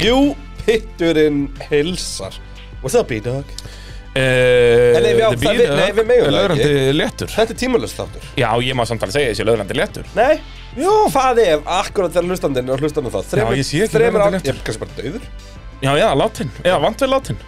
Jú, pitturinn hilsar What's up, B-Dog? Uh, En nei, við á- það við- nei, við megum það Lögrandi léttur Þetta er tímalust þáttur Já, ég má samtala segja þessi lögrandi léttur Nei, jú, það er akkurat þegar hlustandinn er hlustandinn þá Já, ég sé ekki Þreymur lögrandi átt, ég léttur. er kannski bara döður Já, já, látin Já, vant við látin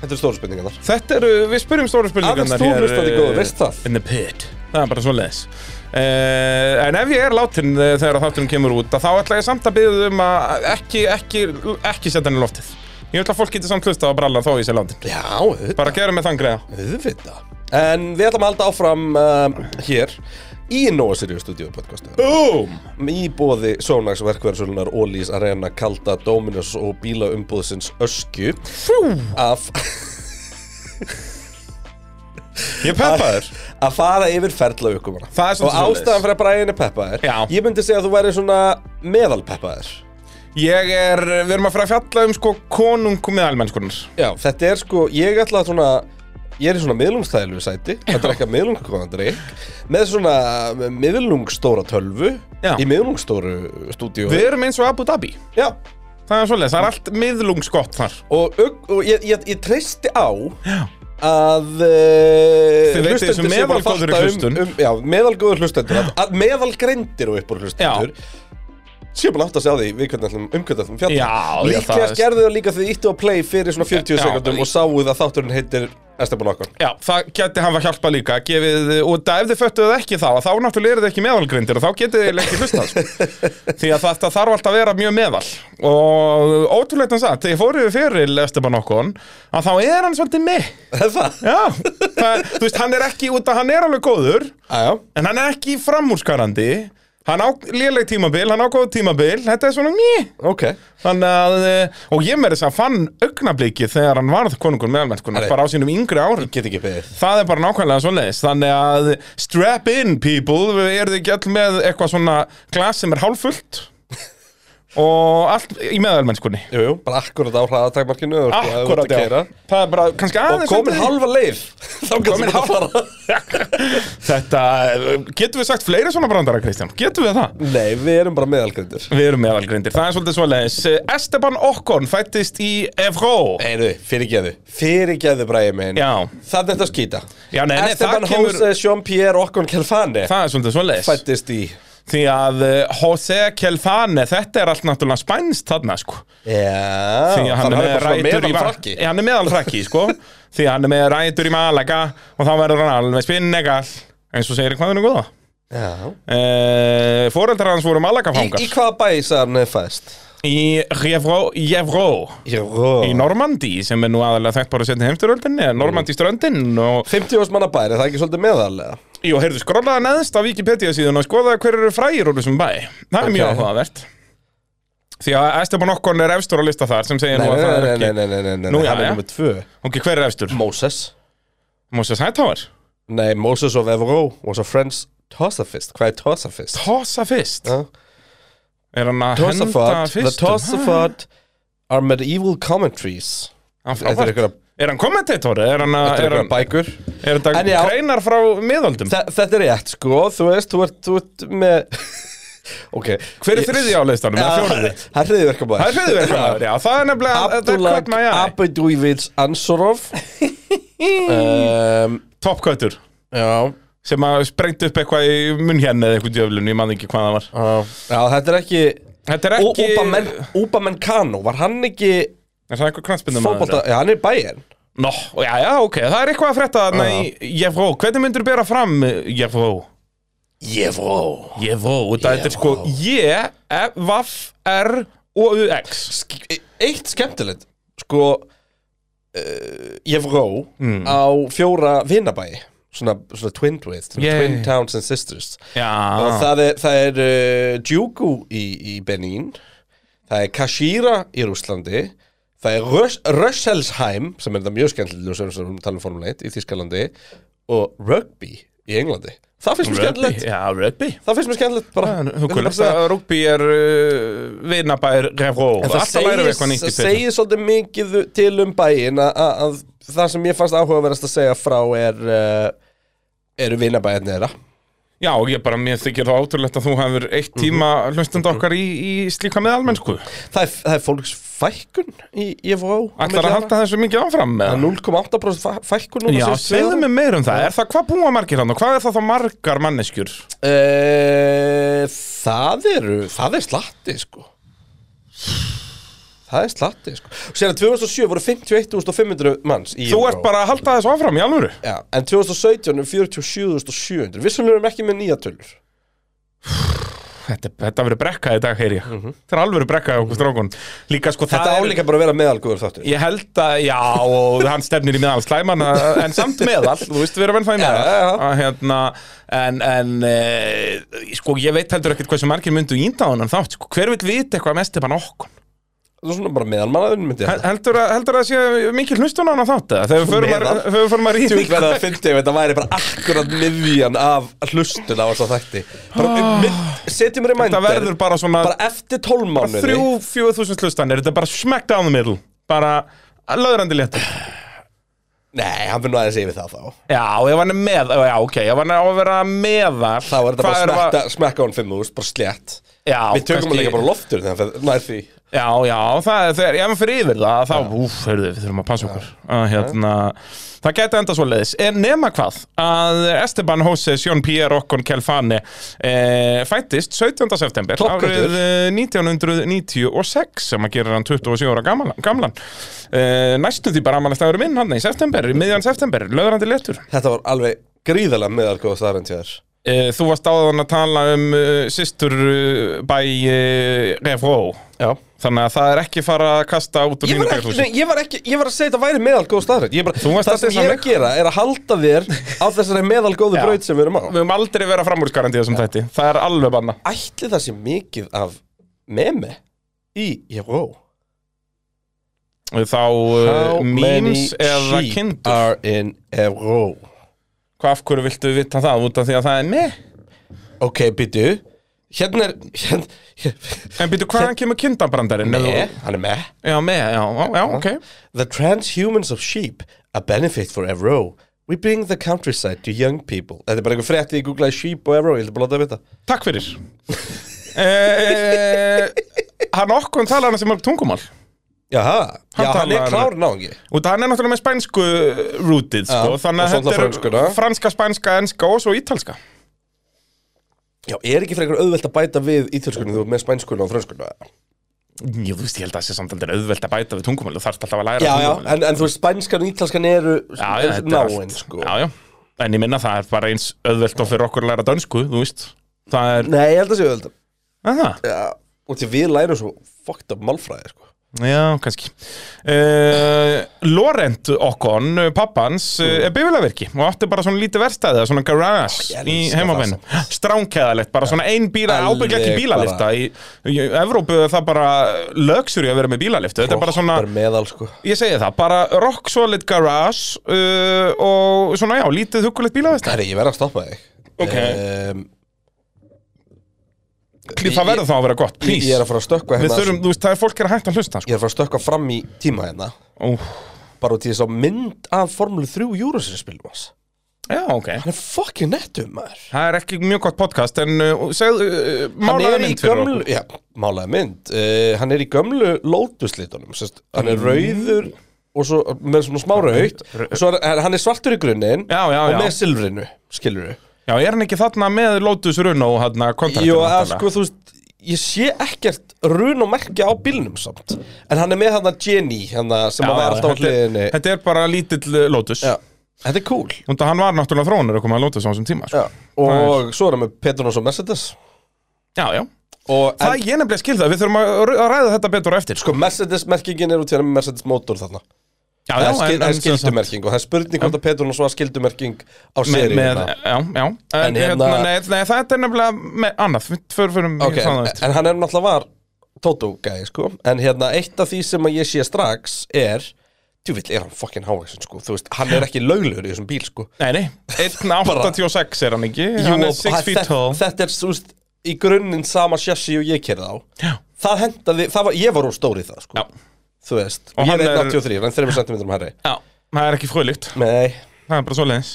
Þetta er stóru spurningarnar Þetta eru, við spurjum stóru spurningarnar Aðeins þú hér, hlustandi eh, góður, veist það? In the pit Það er bara svo leiðis En ef ég er látin eh, þegar þátturinn kemur út að Þá ætla ég samt að byrja um að ekki, ekki, ekki setja hann í loftið Ég ætla að fólk getur samt hlusta á brallan þó ég sé látin Já, auðvitað Bara gera mig þann greiða Auðvitað. En við ætlum að halda áfram um, hér í Nóa Sirius Studio podcastu Boom í bóði Sónax verkverðsölunar Ólís Arena, Kalda, Dominus og bílaumbúðsins Öskju af, Ég peppaður að fara yfir ferla aukumana Það er og svolítið svoleiðis. ástæðan fyrir að bræðin er peppaðir Já. ég myndi segja að þú væri svona meðal peppaðir Ég er, við erum að fara að fjalla um sko konung með almennskunar Já, þetta er sko, ég ætla að svona Ég er í svona miðlungstæðilegu sæti að drekka miðlungkona drikk með svona miðlungstóra tölvu Já. í miðlungstóru stúdíu Við erum eins og Abu Dhabi Já, Það er svolítið, það er allt miðlungsgott þar og, og, og ég, ég, ég treysti á Já. að uh, Þið veitið þessu meðalgóðri hlustun. um, Já, meðalgóður hlustendur að, að meðalgreindir og uppur hlustendur Sér búin átt að segja því við hvernig ætlum umkvæmt ætlum fjalla Já, já, það Líklega er- gerðu þau líka því íttu á play fyrir svona 40 Já, sekundum í- og sáuð að þátturinn heitir Esteban Okkon Já, það geti hann að hjálpa líka gefið, og það- ef þið föttuðu ekki það þá náttúrulega eru þið ekki meðalgrindir og þá getið þið ekki hlustað sko. því að þetta þarf alltaf að vera mjög meðal og ótrúleitt hans að þegar ég fór yfir fyrir Esteban Okkon að þá er hann svolítið með Það? Já, það, þú veist, hann er ekki út að hann er alveg góður Já, en hann er ekki framúrskarandi hann á léleg tímabil, hann á góð tímabil þetta er svona mjög ok Þannig að, eh, og ég meiri þess að fann augnablikið þegar hann varð konungur meðalmennskunar, Nei. bara á sínum yngri árum. Get ekki beðið Það er bara nákvæmlega svoleiðis, þannig að strap in people, við erum ekki all með eitthvað svona glas sem er hálfullt og allt í meðalmennskunni. Jú, jú, bara akkurat á hraðatækmarkinu Akkurat, já. já Það er bara kannski Og aðeins... komin undir- halva leið Þá kannski Komin þetta fara Þetta, getum við sagt fleiri svona brandara, Kristján? Getum við það? Nei, við erum bara meðalgrindur Við erum meðalgrindir, það er svolítið svoleiðis. Esteban Okkon fættist í Evró. Eiru, fyrirgeðu Fyrirgeðu bræði minn Já. Það er þetta að skýta Já, nei, nei, Esteban eh, það kemur- Jose Jean-Pierre Okkon Kelfane Það er svolítið svoleiðis. Fættist í Því að eh, José Kelfane, þetta er allt náttúrulega spænst þarna sko Já Því að hann er þannig með bara svona rætur í Ma- meðalfrakki. Já, hann er meðalfrakki sko Því að hann er með rætur í Malaga og þá verður hann alveg spinnegall eins og segir hvað hann er góða Já. Uh, foreldrar hans voru Í, Malagafangar í hvaða bæ sagði hann er eh, fæst? í Jevró, Jevró Jó í Normandi sem er nú aðalega þekkt bara setni heimsturöldinni Normandi ströndin og 50 ás manna bæri, það er ekki svolítið meðalega jú, heyrðu skrollaða neðst á Wikipedia síðan og skoðaði hver eru frægir úr þessum bæ það er mjög Ok. áhugavert því að Esteban Okkon er efstur á lista þar sem segir Nei, nú nei, að það er nei, ekki nei, nei, nei, nei, nei, Nú, nei, já, hann er já. nummer tvö Ok, hver er efstur? Moses Moses Hightower Nei, Moses of Evro was a French tossafist Hvað er tossafist? Tossa fyrst Ja. Er hann að henda Tossafot The fyrst? um, tossafot are medieval commentaries Þetta er einhverja Er hann kommentator? Er hann að þetta Er, eru hann, bækur er þetta En já. greinar frá miðöldum? Þa, Þetta er rétt sko, þú veist, þú ert, þú ert með Ok Hver er þriðja á listanum? Ja. Fjóriði? Það er hriðiverkabæður Það er hriðverkmaður, já, það er nefnilega þetta er Abdullah Kurt Mayai. Abeduivits Ansorov um, Topköttur Já sem að sprengt upp eitthvað í munn hérna eða eitthvað djöflun, ég man ekki hvað það var Já, þetta er ekki Þetta er Og ekki Úbamenn Úbamennkano, var hann ekki Er það eitthvað kransbyndum fótbolta, já, hann er bæinn Nó, já, já, ok, það er eitthvað að frétta þarna í Jevró, hvernig myndur bera fram eh, Jevró? Ég vró Jevó, þetta er sko E, J-E-V-R-O-U-X e, Eitt skemmtilegt Sko uh, Ég vró Mm. á fjóra vinabæi Svona, svona twin twist svona Yay. Ah. Twin towns and sisters Og Já, það er, það er uh, Djúku í, í Benín Það er Kashira í Rússlandi Það er Rös- Rösselsheim sem er það mjög skemmtilega sem við erum að tala um formuleitt í Þískalandi og rugby í Englandi Það finnst mér rugby skemmtilegt Já, Ah, rugby Það finnst mér skemmtilegt bara Ég vil bara Huggulegt segja- að rugby er uh, vinabær Jevró En það Alltaf lærum við eitthvað segir, nýtt það í fyrir segir svolítið mikið til um bæinn að, að, að það sem ég fannst áhugaverðast að segja frá er uh, eru vinabæðin eh, þeirra Já, og ég bara, mér þykir það ótrúlegt að þú hefur eitt tíma Mhm. hlustandi okkar í, í slíka meðalmennsku. Það er, það er fólks fækkun í EFO Ætlar að halda þessu mikið áfram með það? 0,8% fæ- fækkun núna Já, síðustu segðu ára. mig meir um það. Er það, hvað búa margir hann og hvað er það þá margar manneskjur? Eh, Það eru, það er slatti sko Það er slatti sko Sér að 2007 voru 51.500 manns í Þú Euro. ert bara að halda þessu áfram í alvöru. Já, en 2017 er 47.700 Vissulega erum ekki með nýja tölur Þetta, þetta verið brekka í dag, heyr ég. Þetta er alvöru brekka á okkur strókun. Líka sko, Mhm. Þetta það er... álíka bara að vera meðalgóður þáttur Ég held að, já, og hann stefnir í meðal slæman, eh, en samt meðal, þú veist við erum enn það í meðal. Já, já, já. Að, Hérna, en, en e, sko, ég veit heldur ekkert hversu margir myndu índa á hann þátt, sko, hver vil vita eitthvað mest eða bara okkur? Það er svona bara meðalmannaðun myndi ég Hel- Heldur að, heldur að sé mikil hlustun á hann þátt, eða? þegar við förum að- Meðal. þegar við förum að Tjúk rýna? verða að fyndi ef þetta væri bara akkurat miðjan af hlustun á þess að þætti Bara um mitt- Setjum reminder Ah. Þetta verður bara svona bara eftir 12 mánuði þrjú, fjóðu þúsund hlustanir, þetta er bara smack down the middle, bara löðrandi léttur. Nei, hann finnur aðeins yfir það þá Já, ef hann er með, já, ok, ef hann er á að vera meðal Þá er þetta hvað bara erum að- smekka, smekka á hann 5 úr, bara slétt Já, Við tökum kannski- hann líka bara á loftur þegar hann fer- nær því Já, já, það er þegar, ef maður fyrir yfir það, þá, úf, heyrðu, við þurfum að passa okkur. Að, hérna, það gæti enda svo leiðis. En nema hvað, að Esteban Jose, Sjón Pierre Okkon Kelfane e, fættist 17. september Toppgötur. árið eh, 1996 sem að gera hann 27 ára gamlan. gamlan. E, næstu því bara amalast að vera minn hann í september, í miðjan september, löðrandi letur. Þetta var alveg gríðalega meðalgóð staðarinn til þér E, þú varst áðan að tala um e, systur uh, bæ e, Revró. Já Þannig að það er ekki fara að kasta út úr Ég mínu var, ekki, bakhúsi. nei, ég, var ekki, ég var að segja þetta væri meðalgóð staðarinn Ég bara, Þú varst Það að sem dissa ég er mig. að gera er að halda þér á þessari meðalgóðu Já. braut sem við erum á Við höfum aldrei verið að framúrskarandi þessum þætti Það er alveg banna Ætli það sé mikið af meme í Jóró Þá uh, memes eða kindur are in Jóró Hvað af hverju viltu vita það út af því að það er með? Ok, býtu Hérna er hérna, En býtu hvaðan kemur kindabrandarinn? Með, hann er með Já, með, já, já, já, ok The transhumans of sheep A benefit for Evro We bring the countryside to young people Þetta er bara einhver frétti í googlaði sheep og Evro Ég ætla bara að láta að vita Takk fyrir uh, Hann okkur talar hann sem mörg tungumál Jaha, já, Hann hann er talar- klár náðingi Og það hann er náttúrulega með spænsku rútið Já, sko, og Þannig svo alla að þetta frönskuna. er franska, spænska, enska og svo ítalska Já, er ekki frekar auðvelt að bæta við ítölskunum Þú ert með spænskuna og frönskuna Jú, þú veist, ég held að það sé samt aldrei auðvelt að bæta við tungumál Þú þarft alltaf að læra Já, já, tungumálið. en, en þú veist spænskan og ítalskan eru já, já, þetta er náin allt. sko. já, já. En ég minna það er bara eins auðvelt og fyrir okkur að læra dönsku, þú veist Það er, Nei, ég held að sé auðvelt að það, Já, og til við lærum svo fucked up málfræði sko. já, kannski uh, Lorent Okkon, pappans, mm. er bifilavirki og átti bara svona lítið verstæði, svona garage Ég í elska heimabenn, stránkæðalegt bara svona ein bíla, Alveg ábygglega ekki bílalifta í, í Evrópu er það bara lögsur í að vera með bílaliftu, þetta er bara svona Bara meðal sko Ég segi það, bara rock solid garage uh, og svona já, lítið huggulegt bílaverstæði Herri, ég verð að stoppa þig Ok. um, Það verður þá að vera gott, ég, please ég er að fara að stökkva Við hérna þurfum, þú veist, það er fólk er að hægt að hlusta Ég sko. er að fara að stökkva fram í tíma hérna Ó, Bara út í þess að mynd af Formule 3 Júrusinspilum hans Já, ok Hann er fucking nettum maður Það er ekki mjög gott podcast En uh, segð, uh, Hann málaði er í mynd fyrir gömlu, okkur já, málaði mynd uh, Hann er í gömlu lótuslitunum sest, Hann Mm. er rauður og svo með svona smá raukt og svo er, hann er svartur í grunninn Já, já, og já. með silfrinu, skilur við Já, er hann ekki þarna með Lotus Runo hérna hann, Jú, að sko, þú veist ég sé ekkert run og merkja á bílnum samt en hann er með hann að Jenny hann sem að vera alltaf á þetta, hliðinni er- þetta er bara lítill uh, Lotus Já, þetta er cool Og það hann var náttúrulega þróunur að koma að Lotus á þessum tíma sko. Já, og svo er hann með Petronas og Mercedes já, já og Það en, ég nefnilega skil það, við þurfum að r- að ræða þetta betur á eftir sko Mercedes merkingin er út hérna með Mercedes motor þarna Já, það já, er, skil, en- það er en sem sagt- skildumerking og það er spurning hvort að Petronas var skildumerking á með, með, seríuna Já, já En, hérna, hérna- nei, nei, það er nefnilega með, annað Við förum- förum í ok, það á en, eftir. en hann er náttúrulega var Toto gæði sko, en hérna eitt af því sem að ég sé strax er djúvill er hann fucking hávaksin sko þú veist, hann er ekki löglegur í þessum bíl sko Nei, nei, 1.86 er hann ekki Hann er 6 feet tall Þetta er svo veist, í grunninn sama sjassi og ég kerði á Já. Það hendaði, það var, ég var úr stóri það sko Já. Þú veist, Og og ég hann er er- 183, hann er 3 cm herri Já, það er ekki frölygt Nei, Það er bara svo leiðis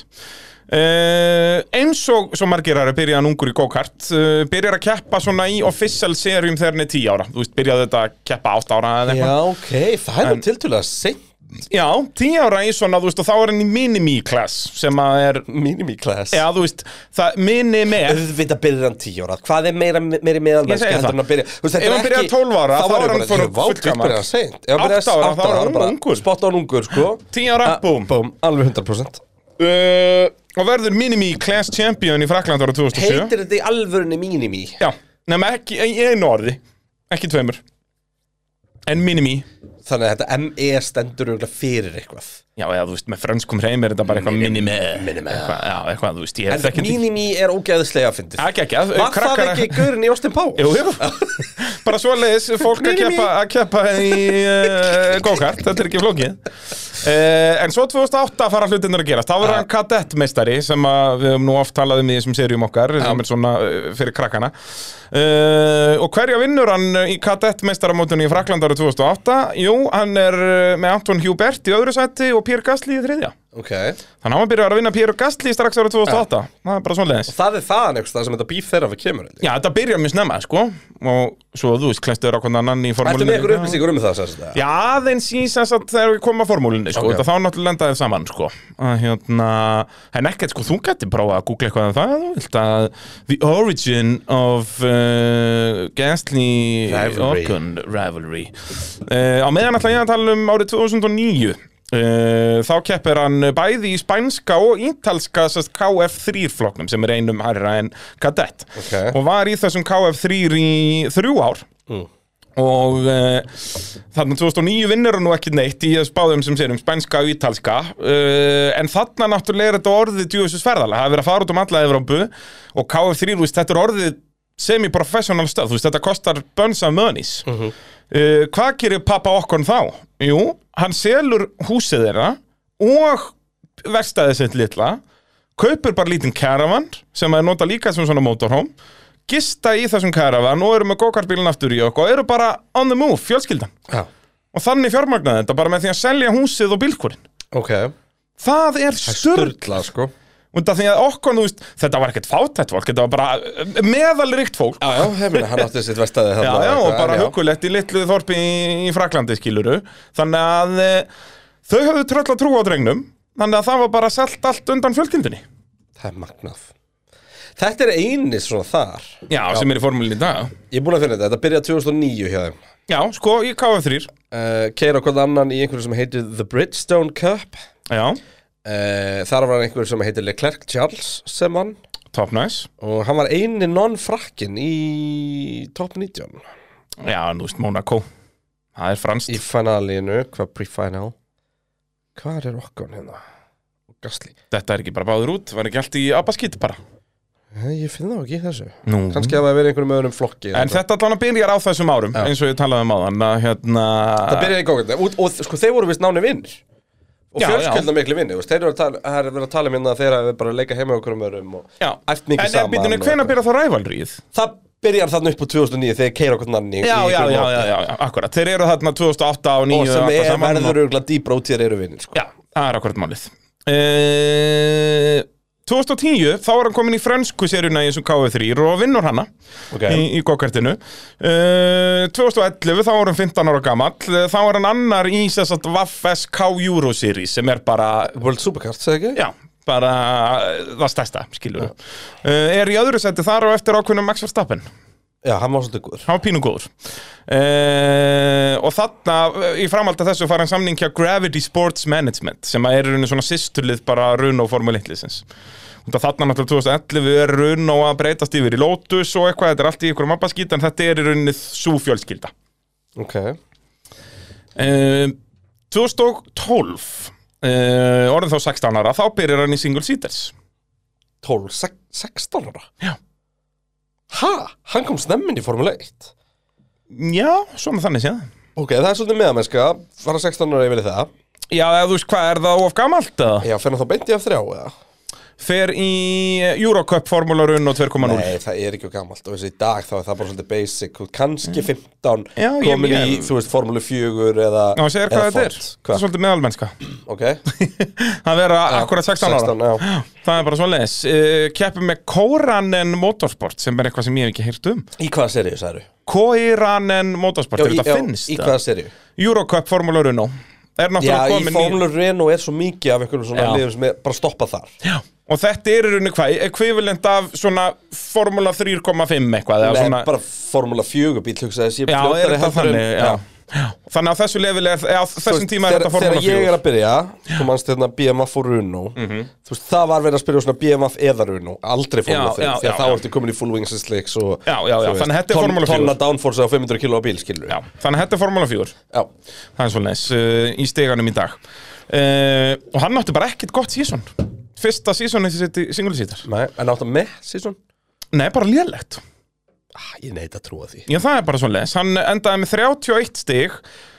Uh, eins og svo margir aðra byrjaði hann ungur í go-kart uh, byrjar að keppa svona í official serium þegar hann er 10 ára þú veist, byrjaði þetta að keppa 8 ára eða eitthvað Já, ok, það er nú tiltölulega seint já, 10 ára í svona, þú veist, og þá er hann í minimi-class sem að er, Minimi class já, þú veist það, minimi Auðvitað byrjar hann 10 ára Hvað er meira, meira meðalmennska Ég segi heldur það. en að byrja Þú veist, þetta Ef er hann byrjaði ekki- 12 ára, þá Þá var var hann bara Vákvæmt fullgamall. byrjar hann seint Ef hann 8 ára, þá var hann bara ungur. Spot on ungur, sko 10 ára, Ah, búm. Búm, alveg 100% uh, og verður minimi-class champion í Frakland ára 2007 Heitir þetta í alvörunni minimi já, nema ekki, í einu orði ekki tveimur en minimi, Þannig að þetta ME stendur örugglega fyrir eitthvað já, eða þú veist, með frönskum hreim er þetta bara eitthvað minimi Minimi eitthvað, já, eitthvað, eh, þú veist, ég En þekki þetta minimi er ógæðislega að fyndið Ekki, ekki, að- Var það krakkar- ekki gaurin í Austin Powers? Jú, jú, bara svo leiðis fólk að Mini, mini. keppa, að keppa í uh, go-kart, þetta er ekki flókið uh, En svo 2008 fara hlutinnar að gerast, þá verður hann kadettmeistari sem að við höfum nú oft talað um í þessum serjum okkar, sem er svona uh, fyrir krakkana uh, Og hverja vinnur hann í kadettmeistaramótinu í Frakland árið 2008? Jú, hann er uh, með Anton Hubert í öðru sæti og Pér Gastli í þriðja Ok Þannig að hann byrjar að vinna Pér Gastli strax árið 2008, það er bara svona leiðis Það er þaðan eitthvað sem þetta býf þeirra fyrir kemur Já, þetta byrjar mjög snemma, sko og svo, þú veist, klæstur á hvernig annan í formúlinu Ertu með ykkur líka. upplýsingur um það, sagði þetta? Já, aðeins í sem sagt þegar við komum að formúlinni, sko, Ok. okay. þá náttúrulega lendaði saman, sko að hérna, en ekkert, sko, þú gæti prófað að googla eitthvað um það, þú vilt að The Origin of uh, Gasly Rivalry. Ocon Rivalry uh, á meðan ætla ég að tala um árið 2009 Uh, þá keppir hann bæði í spænska og ítalska sest, KF3 flokknum sem er einum hærra en kadett Ok. og var í þessum KF3 í þrjú ár og uh, þarna 2009 vinnur hann nú ekki neitt í spáðum sem sérum spænska og ítalska uh, en þarna náttúrulega er þetta orðið djúvisus ferðalega, það er verið að fara út um alla Evrópu og KF3, þú veist, þetta er orðið semi-professional stöð, þú veist, þetta kostar bönns af mönis uh, hvað gerir pappa okkon þá? Jú, hann selur húsið þeirra og verstaðið sitt litla kaupir bara lítinn caravan sem að nota líka sem svona motorhome gista í þessum caravan og eru með go-kartbílinn aftur í okkur og eru bara on the move, fjölskyldan Já og þannig fjármagnaði þetta bara með því að selja húsið og bílkurinn Ok það er störn Sturla, sko út af því að okkur, þú veist, þetta var ekkert fátætt fólk, þetta var bara meðalrikt fólk Já, já, ég meina, hann átti sitt vestæði já, já, og bara hugulegt í litlu þorpi í, í Fraklandi skiluru þannig að e, þau höfðu tröll að trúa á drengnum þannig að það var bara selt allt undan fjölkyndinni já, Það er magnað Þetta er eini svona þar sem er í formúlinni í dag Ég er búin að finna þetta, þetta byrjaði 2009 hjá þeim já, sko, í KF3 uh, Keira hvern annan í einhverju sem heitir The Bridgestone Cup já, uh, Þar var hann einhverju sem heitir Leclerc Charles sem hann top nice Og hann var eini non-frakkin í top 19 já, en þú veist, Monaco það er Í franskt finalinu, hvað pre-final Hvað er okkur hérna? Gasli þetta er ekki bara báður út, var ekki allt í abaskýt bara Nei, Ég finn það ekki í þessu nú, Kannski að það verið einhverjum öðrum flokki en þetta allan byrjar á þessum árum eins og ég talaði um áðan að hérna Það byrjaði í góðgönda og, og sko, þeir voru vist náni vinnir Og Já, fjölskylda miklu vinnir Þeir eru að tala, það er verið að tala minna þeir að bara leika heima okkur um öðrum og já, æft mikið en saman býtunni, og- hvenær byrjar þá rævalrýð? Það byrjar þarna upp á 2009 þegar keira okkur nanni já, já, já, já, já, já, akkurat Þeir eru þarna 2008 og 2009 Og sem er saman. verður auðvitað dýbra út þér eru vinnir sko. Já, það er akkurat málið uh, 2010 þá er hann komin í frönsku seríuna í þessum KV3 og vinnur hana Ok. í, í gokartinu uh, 2011 þá er hann 15 ára gamall Eh, þá er hann annar í þess að Vaffes K Euro Series sem er bara World Supercard, segir ekki? Já, bara eh, það stærsta, skilur við. Er í öðru seti þar og eftir ákveðnum Max Verstappen. Já, hann var svolítið góður Hann var pínu góður. Uh, og þarna, eh, í framhald af þessu, fara hann samning hjá Gravity Sports Management, sem að er í rauninni svona sýsturlið bara Runo Formule 1 liðsins. Og þarna náttúrulega 2011 er Runo að breytast yfir í Lotus og eitthvað, þetta er allt í ykkur mappaskýt, en þetta er í rauninni svo fjölskylda. Ok Uh, 2012, uh, orðin þá 16 ára, þá byrjar hann í single seaters. 12, sex- 16 ára Já. Ha? Hann kom snemmin í Formule 1 Já, svona þannig séð. Ok, það er svolítið meðamennska Fara 16 ára yfir í það Já, eða þú veist hvað, er það of gamalt eða? Já, fyrir þá beint ég af þrjá eða? fer í eh, Eurocup formúlarun og 2.0 Nei, það er ekki of gamalt og þessi í dag þá er það bara svolítið basic og kannski 15 Mm. Já, ég- komin í, ég- þú veist, formúlu 4 eða Ná, eða segir hvað þetta er, Ford. það er svolítið meðalmennska Ok, Það vera akkurat 16 ára 16, já. Það er bara svoleiðis uh, Keppum með Koranen Motorsport sem er eitthvað sem ég hef ekki heyrt um í hvaða seríu særu? Koranen Motorsport, er í, þetta finnst? í hvaða seríu? Eurocup Formula Renault er Já, náttúrulega í komin formúlu Renault er svo mikið af einhverjum svona Já. liðum sem er bara stoppa þar Já, og þetta er í rauninni hvað, ekvivalent af svona Formula 3,5 eitthvað eða Nei, svona, bara formúla 4 bíl hugsaði þessi Já, er þetta þannig, já. já Þannig að þessu level er, eða á þessum tíma er þetta Formula Þegar ég 4 er að byrja, þú manst hérna BMF og Runo Þú veist, það var verið að spyrja um svona BMF eða Runo Aldrei Formula Mhm. 3, Já, já, því já, að þá já. ertu komin í full wings and slicks og Já, já, já, þú þannig að þetta er tonn- Formúla 4. Tonna downforce á 500 kilo á bíl, skilur Já, þannig að þetta er Formula 4 já. Það er svolítið uh, í steganum í dag uh, Og hann átti bara ekkert gott sísón Fyrsta sísónu sitt í singulisítar Nei, en áttu með season? Nei, bara lélegt Ah, ég neit að trúa því Já, það er bara svolítið Hann endaði með 31 stig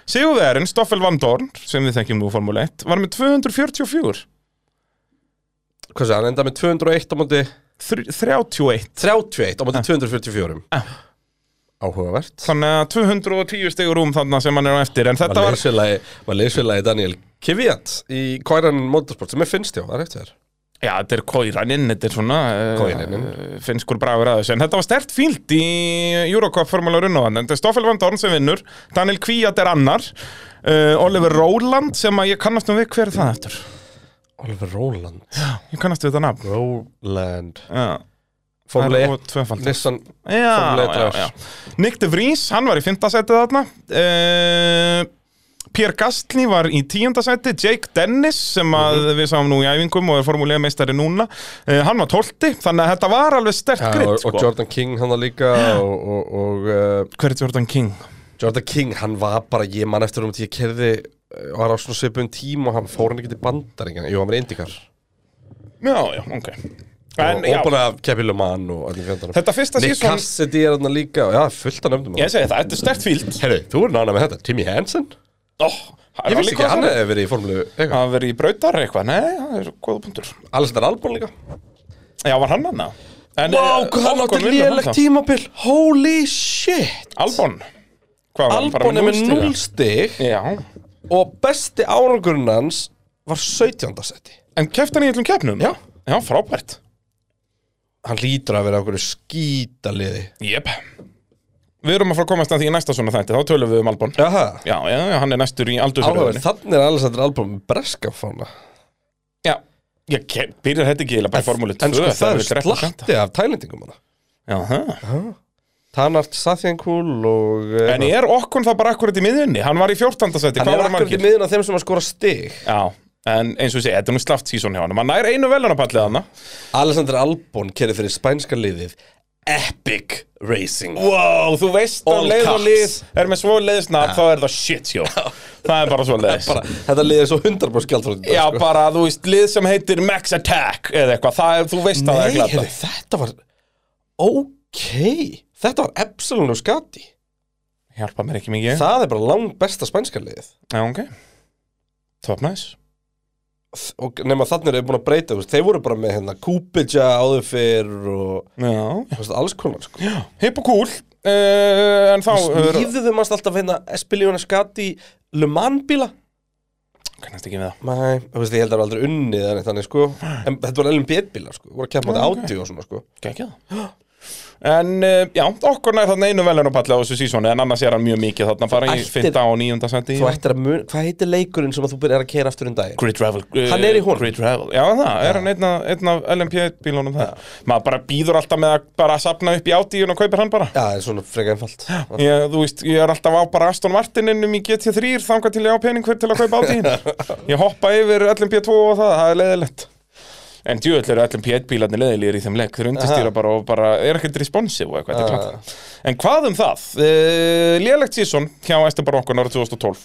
Sigurverðin, Stoffel Van Dorn, sem við þekkjum nú Formule 1, var með 244 Hvað sé, hann enda með 201 á móti Þr- 31 31 á Ah. móti 244 Já. Áhugavert Þannig að 210 stegur um þarna sem hann er á eftir En þetta Var var, leysfélagi- var leysfélagi Daniel Kiviat í Kværan Motorsport sem er finnst já, það er eftir þér já þetta er kóiraninn Þetta er svona eh, Kóiraninn. Finnskur bragur að þessu En þetta var stert fílt í Eurocup Formula Runnovan En þetta er Stoffel Van Dorn sem vinnur Daniel Kvíat er annar uh, Oliver Róland sem að ég kannast um við Hver er það eftir? Oliver Roland Ég kannast við þetta nafn Roland Já, Formule það er 1 og tvöfald Nissan Já, Formule E 1 já, drafs. já. Nick de Vries, hann var í fymta sætið þarna uh, Pierre Gastli var í tíunda sæti Jake Dennis, sem að Mhm. við sáum nú í æfingum og er formúlega meistari núna uh, hann var tólti, þannig að þetta var alveg sterk Já, gritt, og, sko og Jordan King hann var líka og, og, og uh, Hver er Jordan King? Jordan King hann var bara ég mann eftir um því ég kerði og var á svona svipun tíma og hann fór hann ekki til bandar engan. jú hann var indikar Já, já, ok En, og já, óbúin að keppilum mann og öllum fjöndanum þetta fyrsta Nick sísón Cassidy er hann líka já fullt af nöfnum Ég segi það, þetta er sterkt fílt Herri, þú er nána með þetta, Timmy Hansen Ó, Ég vissi ekki að hann hefði verið í formulu eitthvað. að vera í brautar eitthvað, nei, það er góða punktur Alistair Albon líka Já, var hann eh, hann það? Vá, hvað hann átti lélegt tímabil Holy shit Albon Hvað var hann, bara Albon er með núll 0 stig stiga? Já, Og besti árangurinn hans Var 17. seti En kefti hann í öllum keppnum? Já. Já, frábært. Hann lítur að vera okkur skítaliði Jep. Við erum að fara að komast að því í næsta svona þætti, þá tölum við um Albon. Jaha Já, já, já, hann er næstur í Áhugaverð, aldurfyrðunni. þannig er Alessandr Albon með breska fána Já, ég ke- byrjar þetta ekki eiginlega bara í formúli 2. En sko það þegar er við dreppum þetta. slatti af tælendingum hana Já, það. Tanart Sathiankul og eh, En er okkon þá bara akkurat í miðunni? Hann var í 14. seti, Hann hvað er var akkurat í margir? miðun af þeim sem að skora stig Já, en eins og ég segi, þetta er nú slaft sísón hjá hann. Hann nær einu velunapallið hann. Alessandr Albon kerið fyrir spænska liðið Epic Racing Wow, þú veist All að leið og caps. lið er með svo leiðsnafn, þá er það shit sjó. Það er bara Sko. svo leiðis. bara, Þetta liðið er svo 100% gjaldfrönd Já, bara, þú veist, lið sem heitir Max Attack eða eitthvað, það er, þú veist að það er Nei, glata. heyrðu, þetta var Ok Þetta var Epsilon og Skati Hjálpa mér ekki mikið Það er bara langt besta spænska liðið Já, ok Top nice Þ- og nema þannig eru búin að breyta þú veist, þeir voru bara með hérna Kúpidja áður fyrr og Já, þú veist, alls konar sko. hip og cool uh, En þá er- smíðuðu mannst alltaf hérna Espiljóna Skati Le Mans bíla Kannast ekki við það Nei, þú veist, ég held að það var aldrei unnið eða neitt þannig, sko. en þetta var LMP1 bíla sko. voru að kemma á Já, ok. þetta átíu og svona sko. Gækja það En uh, já, okkur nær þarna einu velun og palla á þessu sísónu En annars er hann mjög mikið þarna bara í Ættir- 15 og 9. seti Þú ættir að mun, hvað heitir leikurinn sem að þú byrjar að keira aftur um daginn? Great Travel uh, Hann er í honum. Great Travel Já, það, er hann einn af- einn af LMP-bílunum það Maður bara býður alltaf með að bara sapna upp í átíun og kaupir hann bara Já, það er svona freka einfalt Já, Ég, þú veist, ég er alltaf á bara Aston Martin innum í GT3 þangað til ég á pening hver til að kaupa átíðin Ég hoppa yfir LMP2 og það, það er leiðilegt En djúvel eru LMP1 bílarnir leiðilegir í þeim leik Þeir undirstýra bara og bara er ekkert responsive og eitthvað, þetta er Aha. klart En hvað um það? Uh, Lélegt sísón hjá Æstur Barokkon árið 2012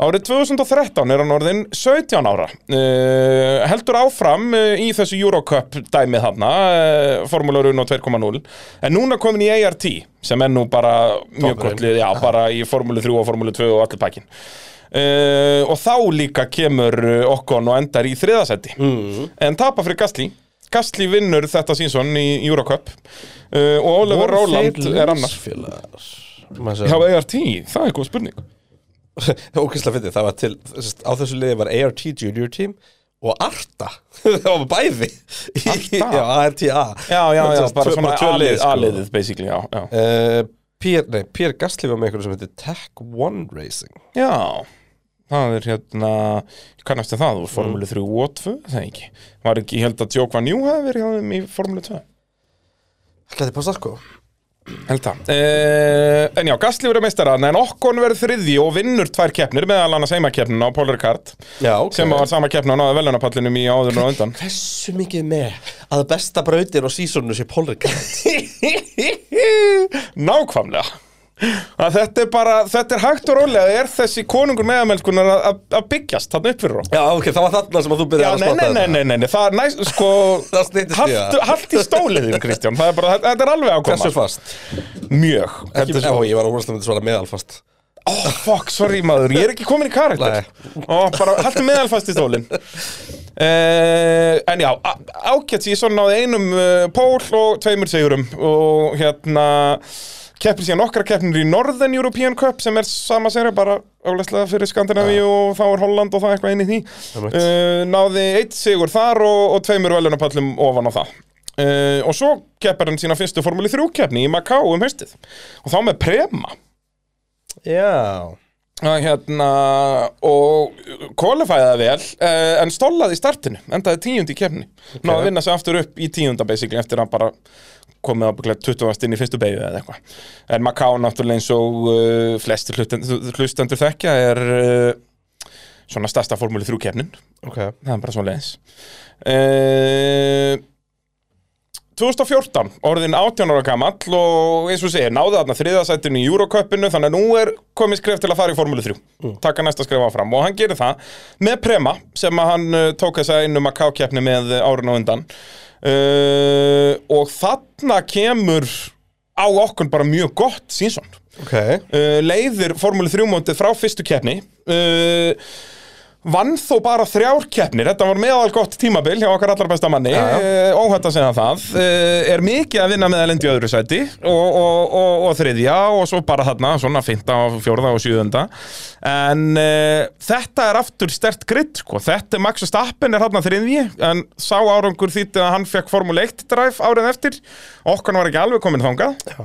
Árið 2013 er hann orðinn 17 ára uh, Heldur áfram uh, í þessu Eurocup dæmið þarna uh, Formula 1 og 2.0 En núna komin í ART sem er nú bara mjög Toppurinn. gott lið Já, bara í Formúlu 3 og Formúlu 2 og allir Eh, pakkin eh, Mhm. Uh, og þá líka kemur uh, Okkon og endar í þriðasæti mm. en tapa fyrir Gastli Kastli vinnur þetta sínsson í Eurocup uh, og Oliver Róland er annar Já, annar ART, það er góð spurning Ókvæslega fyndið, það var til sest, á þessu liði var ART Junior Team og Arta, það var bæði Arta? já, ARTA Já, já, já, Sest, bara tvö- svona tvö lið, A-lið, sko. A-liðið, basically, já, já. Eh, Pierre, nei, Pierre Gasly var með einhverju sem heitir Tech One Racing Já, það er hérna, ég kannast við það úr Formule 3 og 2, það ekki. Var ekki, ég held að Djók Van Jú hafi verið hjá þeim í Formule 2. Gæti passa sko Held það. Eh, en já, Gastli verið meistarann, en Okkon verið þriðji og vinnur tvær keppnir, meðal annars heimakeppnina á Polar Kart, Já, ok sem var sama keppna á náðu velunapallinum í áðurinn og undan. Hversu mikið með að besta brautin og sísonu sé Polrikant Nákvæmlega. Að þetta er bara, þetta er hægt og rólega, er þessi konungur meðamelskunar að- að að byggjast þarna upp fyrir okkur. Já, ok, það var þarna sem að þú Já, byrjaði að nei, spotta nei, nei, nei, nei, nei, það er næst, sko Það styttist í haltu, það. haltu í stóliðin, Kristján Það er bara, þetta- þetta er alveg að koma Hversu fast? Mjög Ekki, Þetta er já, svo, ég var óvæslega með svona meðalfast ó, fuck, sorry maður Ég er ekki komin í karakter Ó, bara, haltu meðalfast í stólin uh, En já, ákjætt Ég svo náði einum uh, pól og tveimur sigurum Og hérna Keppir síðan okkar keppnir í Northern European Cup sem er sama serið, bara álæslega fyrir Skandinavíu og þá er Holland og það er eitthvað inn í því Einmitt. uh, náði eitt sigur þar og, og tveimur velunapallum ofan á það uh, og svo keppar hann sína fyrstu formúli 3 keppni í Macau um haustið og þá með prema Já Að hérna, og kvalifæði það vel uh, en stollaði í startinu, endaði tíundi í keppni náði að vinna sig aftur upp í tíunda basically eftir að hann bara komið á bygglega 20. inn í fyrstu beigju eða eitthvað en Macau náttúrulega eins og uh, flestir hlustendur, hlustendur þekkja er uh, svona stærsta formúli 3 keppnin Ok það er bara svo leiðis uh, 2014, orðin 18 ára gamall og eins og segir, náði þarna þriðasættinu í Euroköppinu, þannig að nú er komið skref til að fara í Formúlu 3 taka næsta skref áfram og hann gerir það með Prema, sem að hann uh, tók þess að einu Macau-keppni með árun og undan uh, og þarna kemur á okkur bara mjög gott sínsson Ok uh, leiðir Formúlu 3 mótið frá fyrstu keppni uh, vann þó bara þrjár keppnir þetta var meðal gott tímabil hjá okkar allar besta manni Já, uh, óhætt að segja það uh, er mikið að vinna meðal endi í öðru sæti og, og, og, og þriðja og svo bara þarna svona fynda og fjórða og sjöðunda en uh, þetta er aftur stert gritt sko. þetta er Max Verstappen er þarna þriðji en sá árangur þýtti að hann fekk Formule 1 drive árið eftir okkar var ekki alveg komin þangað Já.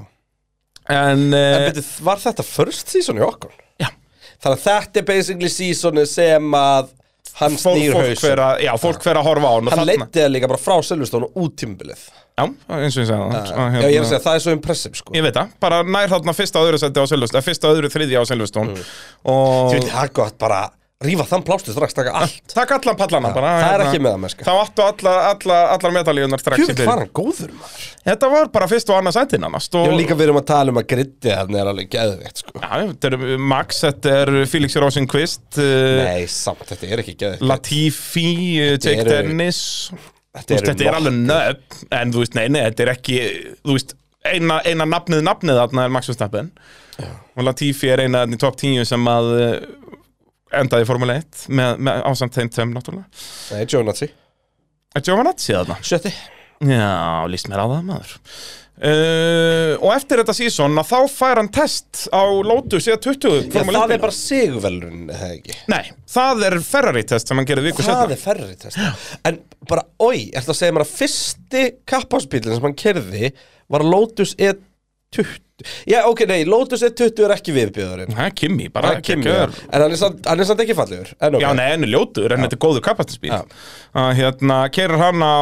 en, uh, En byrju, var þetta first season í okkur? Já. Þannig að þetta er basically seasonu sem að hann fólk, snýr fólk, hausum vera, já, fólk vera að horfa á hann og Hann þarna- leiddi það líka bara frá Silveston og út tímbilið Já, eins og ég segja það Já, ég er að segja, það er svo impressive sko hérna, Ég veit það, bara nær þarna fyrsta og öðru seti á Silveston Fyrsta og öðru þriðja á Silveston Þú Og veit, það er gott bara Rífa þann plástu strax, taka allt takk allan pallana bara það er hérna. ekki meðalmennska. Þá áttu alla, alla, allar medalíunar strax í Kjöfn byrjun. var hann góður maður Þetta var bara fyrst og annað setin annast Ég og... hef líka verið um að tala um að gritti hann er alveg geðveikt sko Já, þetta er eh, Max, þetta er Felix Rosenqvist uh, Nei, samt, þetta er ekki geðveikt Latifi, uh, Jake eru- Dennis Þú veist, eru Þetta er alveg nöfn En þú veist, nei, nei, þetta er ekki Þú veist, eina, eina nafnið nafnið þarna er Max Verstappen Og Latifi er eina þarna í top 10 sem að eh, endaði í Formule 1 með, með ásamt þeim tveim náttúrulega Nei, Jónatsi Er Giovanazzi þarna? Sjötti Já, líst mér á það maður uh, Og eftir þetta sísón að þá fær hann test á Lotus eða 20 Já, Formule það 1 er bara sigurvelun, eða ekki Nei, það er Ferrari test sem hann gerði viku Það setna er ferri test En bara, oi, ertu að segja mér að fyrsti kapphásbílinn sem hann kerði var Lotus E20 Já, ok, nei, Lotus E20 er ekki viðbjöðurinn Það er Kimi, Það bara er Ah, ekki Kimi, kjör já. En hann er samt, hann er samt ekki fallegur en, ok. Já, nei, henni ljótur, en þetta er góður kapastinsbíl Já. að hérna, kerir hann á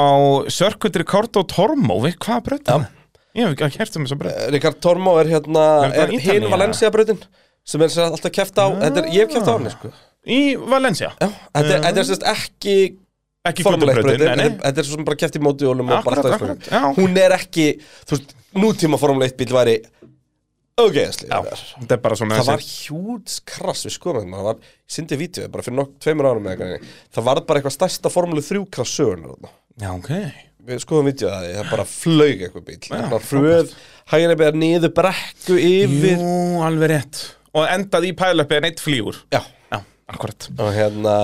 Circuit Ricardo Tormo, við hvað breyta það? Ég hef ekki hert um þess að breyta Rikard Tormo er hérna, Er það er Ítalía? hinn Valencia brautin sem er sem sagt alltaf keft á, þetta er, ég hef keft á hann sko. Í Valencia, Já, þetta er, þetta er sérst ekki Ah. ekki Formule 1 formulegt brautin, nei, nei. þetta er svo sem bara keft í mótiólum og bara Akkurat, alltaf í akkurat, skoðum. já. Hún er ekki, þú veist, nútíma Formule 1 bíl væri ógeðsli Já, þetta er bara svona Það var þessi- hjúts krass við skoðum þetta, það var, ég syndi vídeo bara fyrir nokk tveimur árum eða eitthvað það var bara eitthvað stærsta Formule 3 krass sögunar þarna. Já, ok við skoðum vídeo að því, það bara flaug eitthvað bíl, það var fröð hægir eitthvað niður brekku yfir Jú, alveg rétt Og endaði í pælöpið en eitt flýgur Já, Já, akkurat og hérna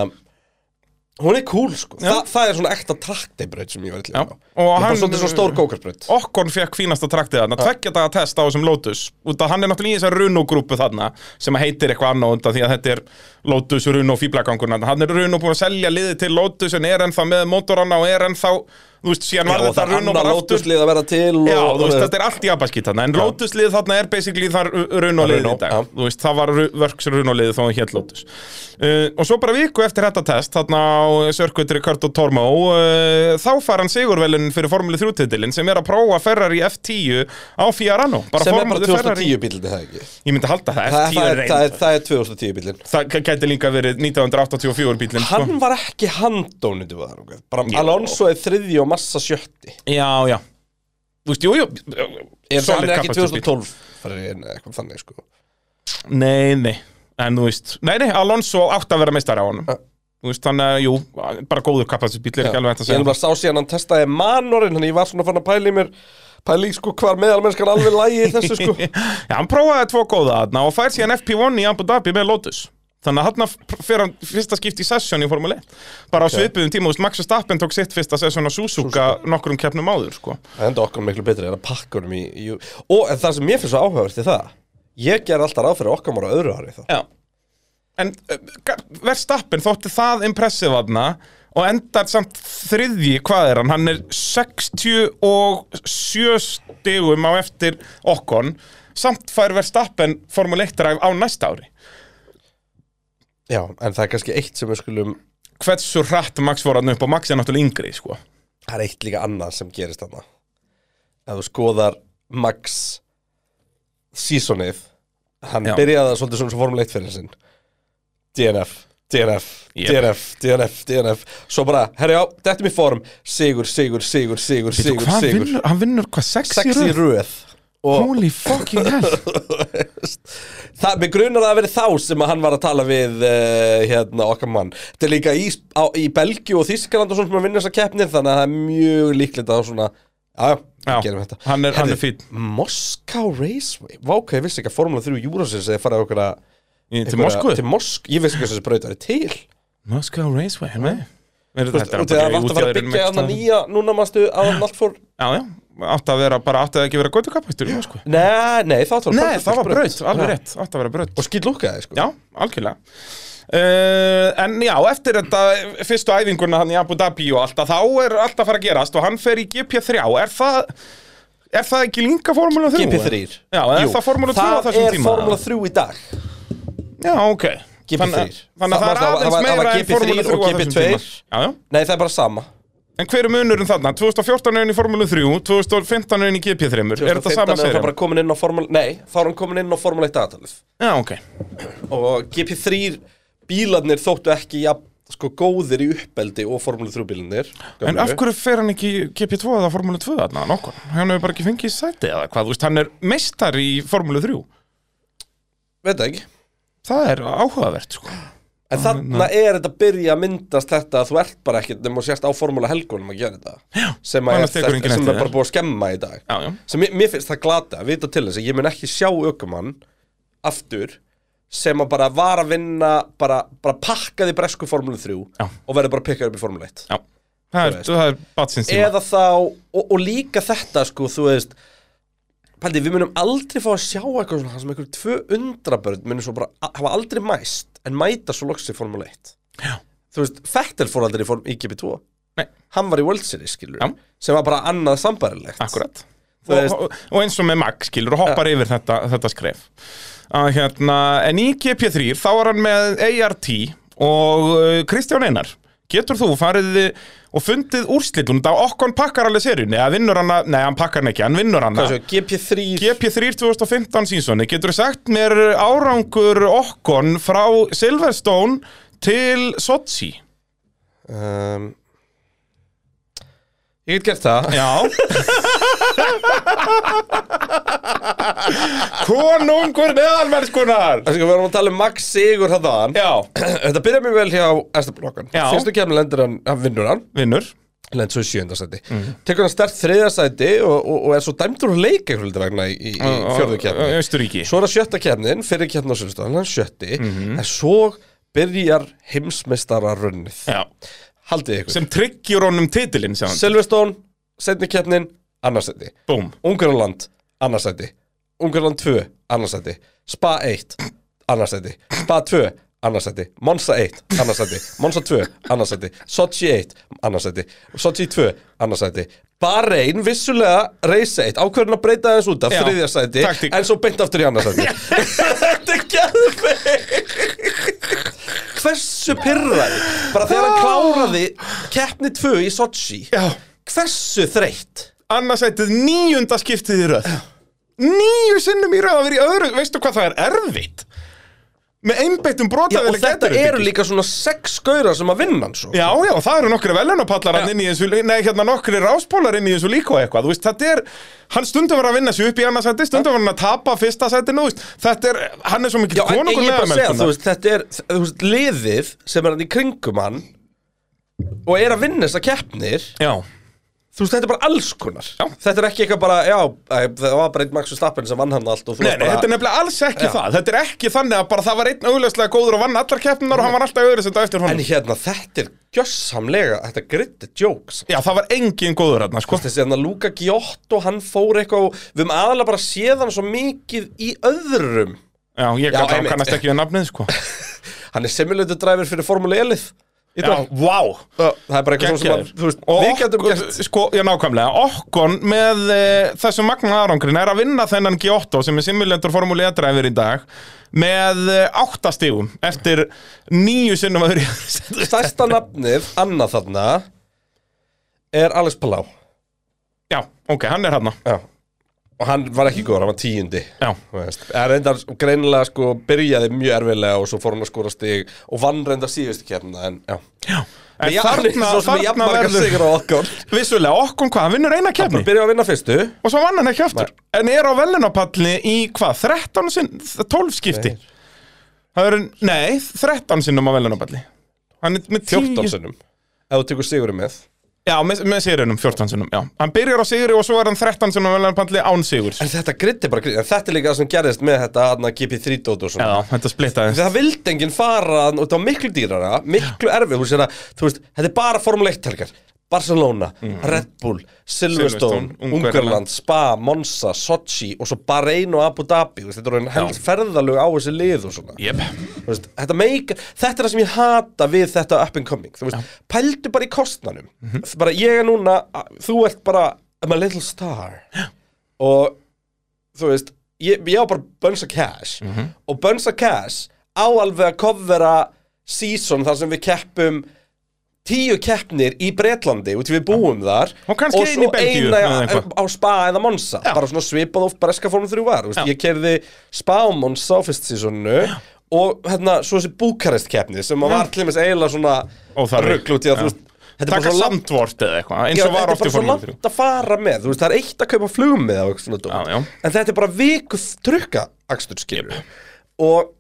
Hún er cool sko, Já. Þa, það er svona ekta traktebraut sem ég var eitthvað Já. á Og Og hann hann- Bara svolítið svona stór kókarbraut Okkon fekk fínasta traktið þarna, tveggja daga test á þessum Lotus út að hann er náttúrulega í þessar Runo-grúpu þarna sem að heitir eitthvað annað út af því að þetta er Lotus Runo fýblagangur hann er Runo búin að selja liðið til Lotus en er ennþá með mótorana og er ennþá þú veist, síðan var Og þetta það er Runo annað bara aftur lótuslið að vera til og, Já, þú veist, veist, þetta er allt í abaskýt þarna En Lotus lið þarna er basically þar Runo liðið í Runo, dag já. Þú veist, það var vörks Runo liðið þó að hér Lotus uh, Og svo bara viku eftir þetta test Þarna á Sörkvitri Körto Tormó uh, Þá far hann sigurvelun fyrir Formule 3 titilin Sem er að prófa Ferrari F10 á Fiorano Sem er bara Formule Ferrari- 2010 bílinn, er það ekki Ég myndi halda það, Það, F10 það, er er, það, er, reynd það er 2010 bílinn Það gæti líka verið 1984 bílinn sko. Hann var ekki handónið við það nokkuð. Bara Jú. Alonso er þriði og massa sjötti Já, já Þú veist, jú, jú Er það solid hann er ekki kapasitet bíll. 2012 Farinn eða eitthvað þannig sko Nei, nei, en þú veist Nei, nei, Alonso átt að vera meistari á honum Ja. Þú veist, þannig að, jú, bara góður kapasitbíl er Já. ekki alveg hægt Ég að er segja bara sá síðan hann testaði manorinn Þannig ég var svona fann að pæla í mér Pæla í sko hvar meðalmennskan alveg lægi í þessu sko Já, hann prófaði tvo góða þarna og fær síðan FP1 í Abu Dhabi með Lotus Þannig að hann fyrir hann fyrsta skipti í sesjón í Formule 1 Bara á svipuðum tíma, þú veist, Max Verstappen tók sitt fyrsta sesjón á Suzuka nokkrum keppnum áður, sko Það enda okkur miklu betri en að pakka honum í, í Og en það sem mér finnst svo áhugavert er það Ég ger alltaf ráð fyrir okkar ára öðru ári þá Já En uh, Verstappen þótti það impressive aðna og endar samt þriðji, hvað er hann? Hann er 67 stigum á eftir okkon samt fær Verstappen Formule 1 dræf á næsta ári Já, en það er kannski eitt sem við skulum Hversu hratt Max voru hann upp og Max er náttúrulega yngri, sko Það er eitt líka annað sem gerist þarna Ef þú skoðar Max Seasonið Hann Já. byrjaði það svolítið svona svo formuleitt fyrir sinn DNF, DNF, Yep. DNF, DNF, DNF Svo bara, herri á, þetta er mér form Sigur, sigur, sigur, sigur, Sigur, sigur, sigur vinnur, Hann vinnur hvað, sex í Sex í röð? röð Og Holy fucking hell það, mér grunar að það verið þá sem að hann var að tala við uh, hérna, okkar mann þetta er líka í, á, í Belgíu og Þískaland og svona sem að vinna þessar keppnir þannig að það er mjög líklegt að það svona já, já, Já, gerum þetta hann er- hann er Heyrðu, Moscow Raceway, vák, ég vissi ekki að Formula 3 Júrasins eða farið okkur að Í- Til Moskvu? til Mosk, ég vissi ekki að þessi braut væri til Moskva Raceway, nei Þetta Þú veist, út í það vart að fara að byggja hann nýja núna mannstu að hann allt fór Já, já, átti að vera, bara átti að ekki vera göttukapastur í Moskvu nei, nei, það var Nei, það var braut, Já. alveg rétt, átti að vera braut og skýtlúkaði sko Já, algjörlega uh, En já, eftir þetta fyrstu æfinguna hann í Abu Dhabi og alltaf þá er allt að fara að gerast og hann fer í GP3 Er það, er það ekki linka Formúla 3? GP3 Já, er Jú, það Formúla 2 á þessum tíma? Það er Formula 3 í dag Já, ok GP3. Þannig þannig að Það það var- er það aðeins var- það var meira en GP3 Formúla 3 og á þessum GP2. tíma Já, já Nei, það er bara sama En hver er munurinn þarna? 2014 er hann í Formúlu 3, 2015 er hann í GP3 Er þetta 2015 sama er það serið? bara komin inn á Formule Nei, þá er hann komin inn á Formule 1 aðtalið Já, ok Og GP3 bílarnir þóttu ekki ja, sko, góðir í uppeldi og Formule 3 bílarnir En gömlu. af hverju fer hann ekki í GP2 eða Formúlu 2 þarna nokkur? Hann hefur bara ekki fengið sæti eða hvað, þú veist, hann er meistar í Formúlu 3 Veit það ekki Það er áhugavert, sko En þarna er þetta að byrja að myndast þetta að þú ert bara ekkert nema og sérst á formúla helgunum að gera þetta Já, sem, að er, annars tekur enginn sem eftir er þér. bara búið að skemma í dag Já, já, sem mér, mér finnst það glata að vita til þess að ég mun ekki sjá aukumann aftur sem að bara var að vinna bara, bara pakkaði bresku formúlu 3 Já. og verður bara að pikka upp í formúlu 1 já Það er, veist. það er batsins tíma eða þá, og, og líka þetta sko, þú veist Paldi, við munum aldrei fá að sjá eitthvað svona það sem einhverjum 200 börn munum svo bara a- hafa aldrei mæst en mæta svo loks í formúlu 1 Já. þú veist, Fettel fór aldrei í, form, í GP2 Nei. hann var í World Series skilur Já. sem var bara annað sambarilegt Akkurat Þú og, veist- og- og eins og með Max, skilur, og hoppar yfir þetta, þetta skref að, hérna, En í GP3 þá er hann með ART og uh, Kristján Einar Getur þú farið og fundið úrslit Hún þetta okkon pakkar alveg seríunni eða vinnur hann að, nei hann pakkar hann ekki, hann vinnur hann Hvað svo, GP3 GP3 2015 sínsoni, getur sagt mér árangur okkon frá Silverstone til Sochi? Um, ég get gert það Já Konungur neðalverðskunar Það sko, við erum að tala um Max Sigur þaðan Já, Þetta byrjar mjög vel hjá Establokan Já. Fyrstu kemur lendur hann, hann vinnur hann vinnur Lend svo í sjöndasæti mm. Mhm. Tekur hann stert þriðasæti og, og, og er svo dæmdur að leika einhverjum hluti vegna í, í, í fjörðu kemni Östuríki Svo er það sjötta kemnin, fyrir kemni á Mhm. Sjöndasæti Hann er sjötti, en svo byrjar heimsmeistara runnið Já, haldið ykkur sem tryggjur honum titilinn sem hann, Silverstone, setni keppnin, annarsæti búm Ungarland, annarsæti Ungarland 2, annarsæti Spa 1, annarsæti Spa 2, annarsæti Monza 1, annarsæti Monza 2, annarsæti Sochi 1, annarsæti Sochi 2, annarsæti Bahrein, vissulega, reisa 1 Ákvörðin að breyta þess út af Já, þriðja sæti taktík. En svo beint aftur í annarsæti Þetta er gæðveg Hversu pyrraði Bara þegar hann kláraði Keppni 2 í Sochi Já, Hversu þreytt annarsættið níunda skiptið í röð Níu sinnum í röð að vera í öðru Veistu hvað það er erfitt? Með einbeittum Já, brotaðileg og þetta eru líka svona sex skaurar sem að vinna hann svo Já, já, það eru nokkri velunapallar hann inn í eins og, nei, hérna nokkri ráspólar inn í eins og líka og eitthvað, þú veist, þetta er, hann stundum var að vinna sér upp í annarsætti, stundum var hann að tapa fyrsta sættinu, þú veist, þetta er, hann er svo mikill Já, en en konungur ég sko. er bara að segja, meðalmenntanna. þú veist, þetta er þú veist, liðið sem er hann í kringum hann og er að vinna þessar keppnir Já, þú veist, þetta er bara alls konar Já. þetta er ekki eitthvað bara, já, æ, það var bara einn Max Verstappen sem vann hann allt og þú Nei, nei, þetta er bara nefnilega alls ekki Já. það Þetta er ekki þannig að bara það var einn augljóslega góður og vann allar keppnar og hann var alltaf öðru sem þetta eftir honum en hérna, þetta er gjössamlega þetta gritti jokes Já, það var engin góður hérna, sko þessi hérna Luka Giotto, hann fór eitthvað og við höfum aðalega bara séð hann svo mikið í öðrum Já, ég Já, gat- hann einmitt. kannast ekki við nafnið, sko hann er simulator driver fyrir Formule 1-lið í Já, dag. vá það er bara eitthvað svona sem að, Gekkjaður þú veist, Og við getum okkur, gert sko, já nákvæmlega Okkon með e, þessum magna árangrin er að vinna þennan Giotto sem er simulator formúli 1 dræfir í dag með e, áttastífum eftir nýju sinnum að hurja stærsta nafnið, annað þarna er Alex Palau Já, ok, hann er hann Já. og hann var ekki góður, hann var tíundi Já, Þú veist. en reyndar greinilega sko byrjaði mjög erfilega og svo fór hann að skora stig og vann reyndar síðustu kemna en já, já En já þarna, svo sem ég þarna jafnmarga verður sigur á okkur Vissulega, okkon hvað, hann vinnur eina keppni byrjaði að vinna fyrstu og svo vann hann ekki aftur en er á velunapalli í hvað, 13 sinn 12 skipti það eru, nei, 13 sinnum á velunapalli hann er með 10 14 sinnum ef þú tekur sigurinn með já, með, með sigurunum 14 sinnum, já hann byrjar á siguri og svo er hann 13 sinnum á velunapalli án sigurs en þetta gritti bara gritti, en þetta er líka það sem gerðist með þetta hann GP3 dót og svona já, þetta splittaði það vildi enginn fara þarna og það var miklu dýrara, miklu erfið þú veist, hérna, þú veist, þetta er bara Formule 1 helgar Barcelona, Red Bull, Silverstone, Mhm. Silverstone, Ungverjaland. Ungarland, Spa, Monza, Sochi og svo Bahrein og Abu Dhabi þú veist, þetta er einn held ferðalög á þessi lið og svona Jep. Þú veist, þetta, meik, þetta er það sem ég hata við þetta up and coming Þú veist, pældu bara í kostnanum bara ég er núna, þú ert bara I'm a little star og þú veist ég, ég á bara bunch of cash Mhm. og bunch of cash á alveg að kofvera season þar sem við keppum tíu keppnir í Bretlandi út í við búum þar Og kannski ein í svo Belgíu eina eða eitthvað. á Spa eða Monza bara svona svipað of breska formum þrjú var þú veist, Já. ég kerði Spa og Monza á fyrst seasonu og hérna svo þessi Búkarest keppni sem að var til dæmis eiginlega svona Óþarfi. rugl út í að þú Já. veist þetta er bara taka svo langt samtvort eða eitthvað eins Já, og var þetta er oft í bara svo formúli 3 langt að fara með þú veist, það er eitt að kaupa flugmið á eitthvað svona dót Já, já. en þetta er bara viku trukka aksturskilur og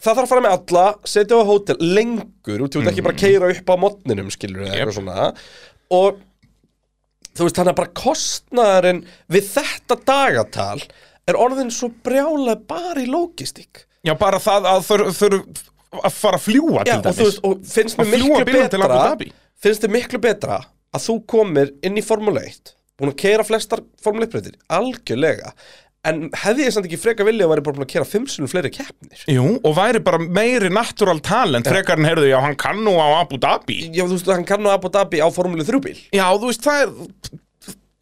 það þarf að fara með alla setja á hótel lengur út, þú veist ekki Mhm. bara keira upp á modninum skilur eða eitthvað svona og þú veist þannig að bara kostnaðurinn við þetta dagatal er orðin svo brjálega bara í logistík já, bara það að þurf þur, að fara að fljúa Já, til og þú dæmis veist, og finnst Að mér miklu fljúga bílnum til betra Abu Dhabi. finnst þér miklu betra að þú komir inn í Formule 1 búin að keira flestar Formule 1 breytir algjörlega, en hefði ég samt ekki freka vilja að væri bara búin að keira fimm sunnum fleiri keppnir Jú, og væri bara meiri natural talent frekar en heyrðu, já, hann kann nú á Abu Dhabi Já, þú veist, hann kann á Abu Dhabi á Formule 3 bíl Já, þú veist, það er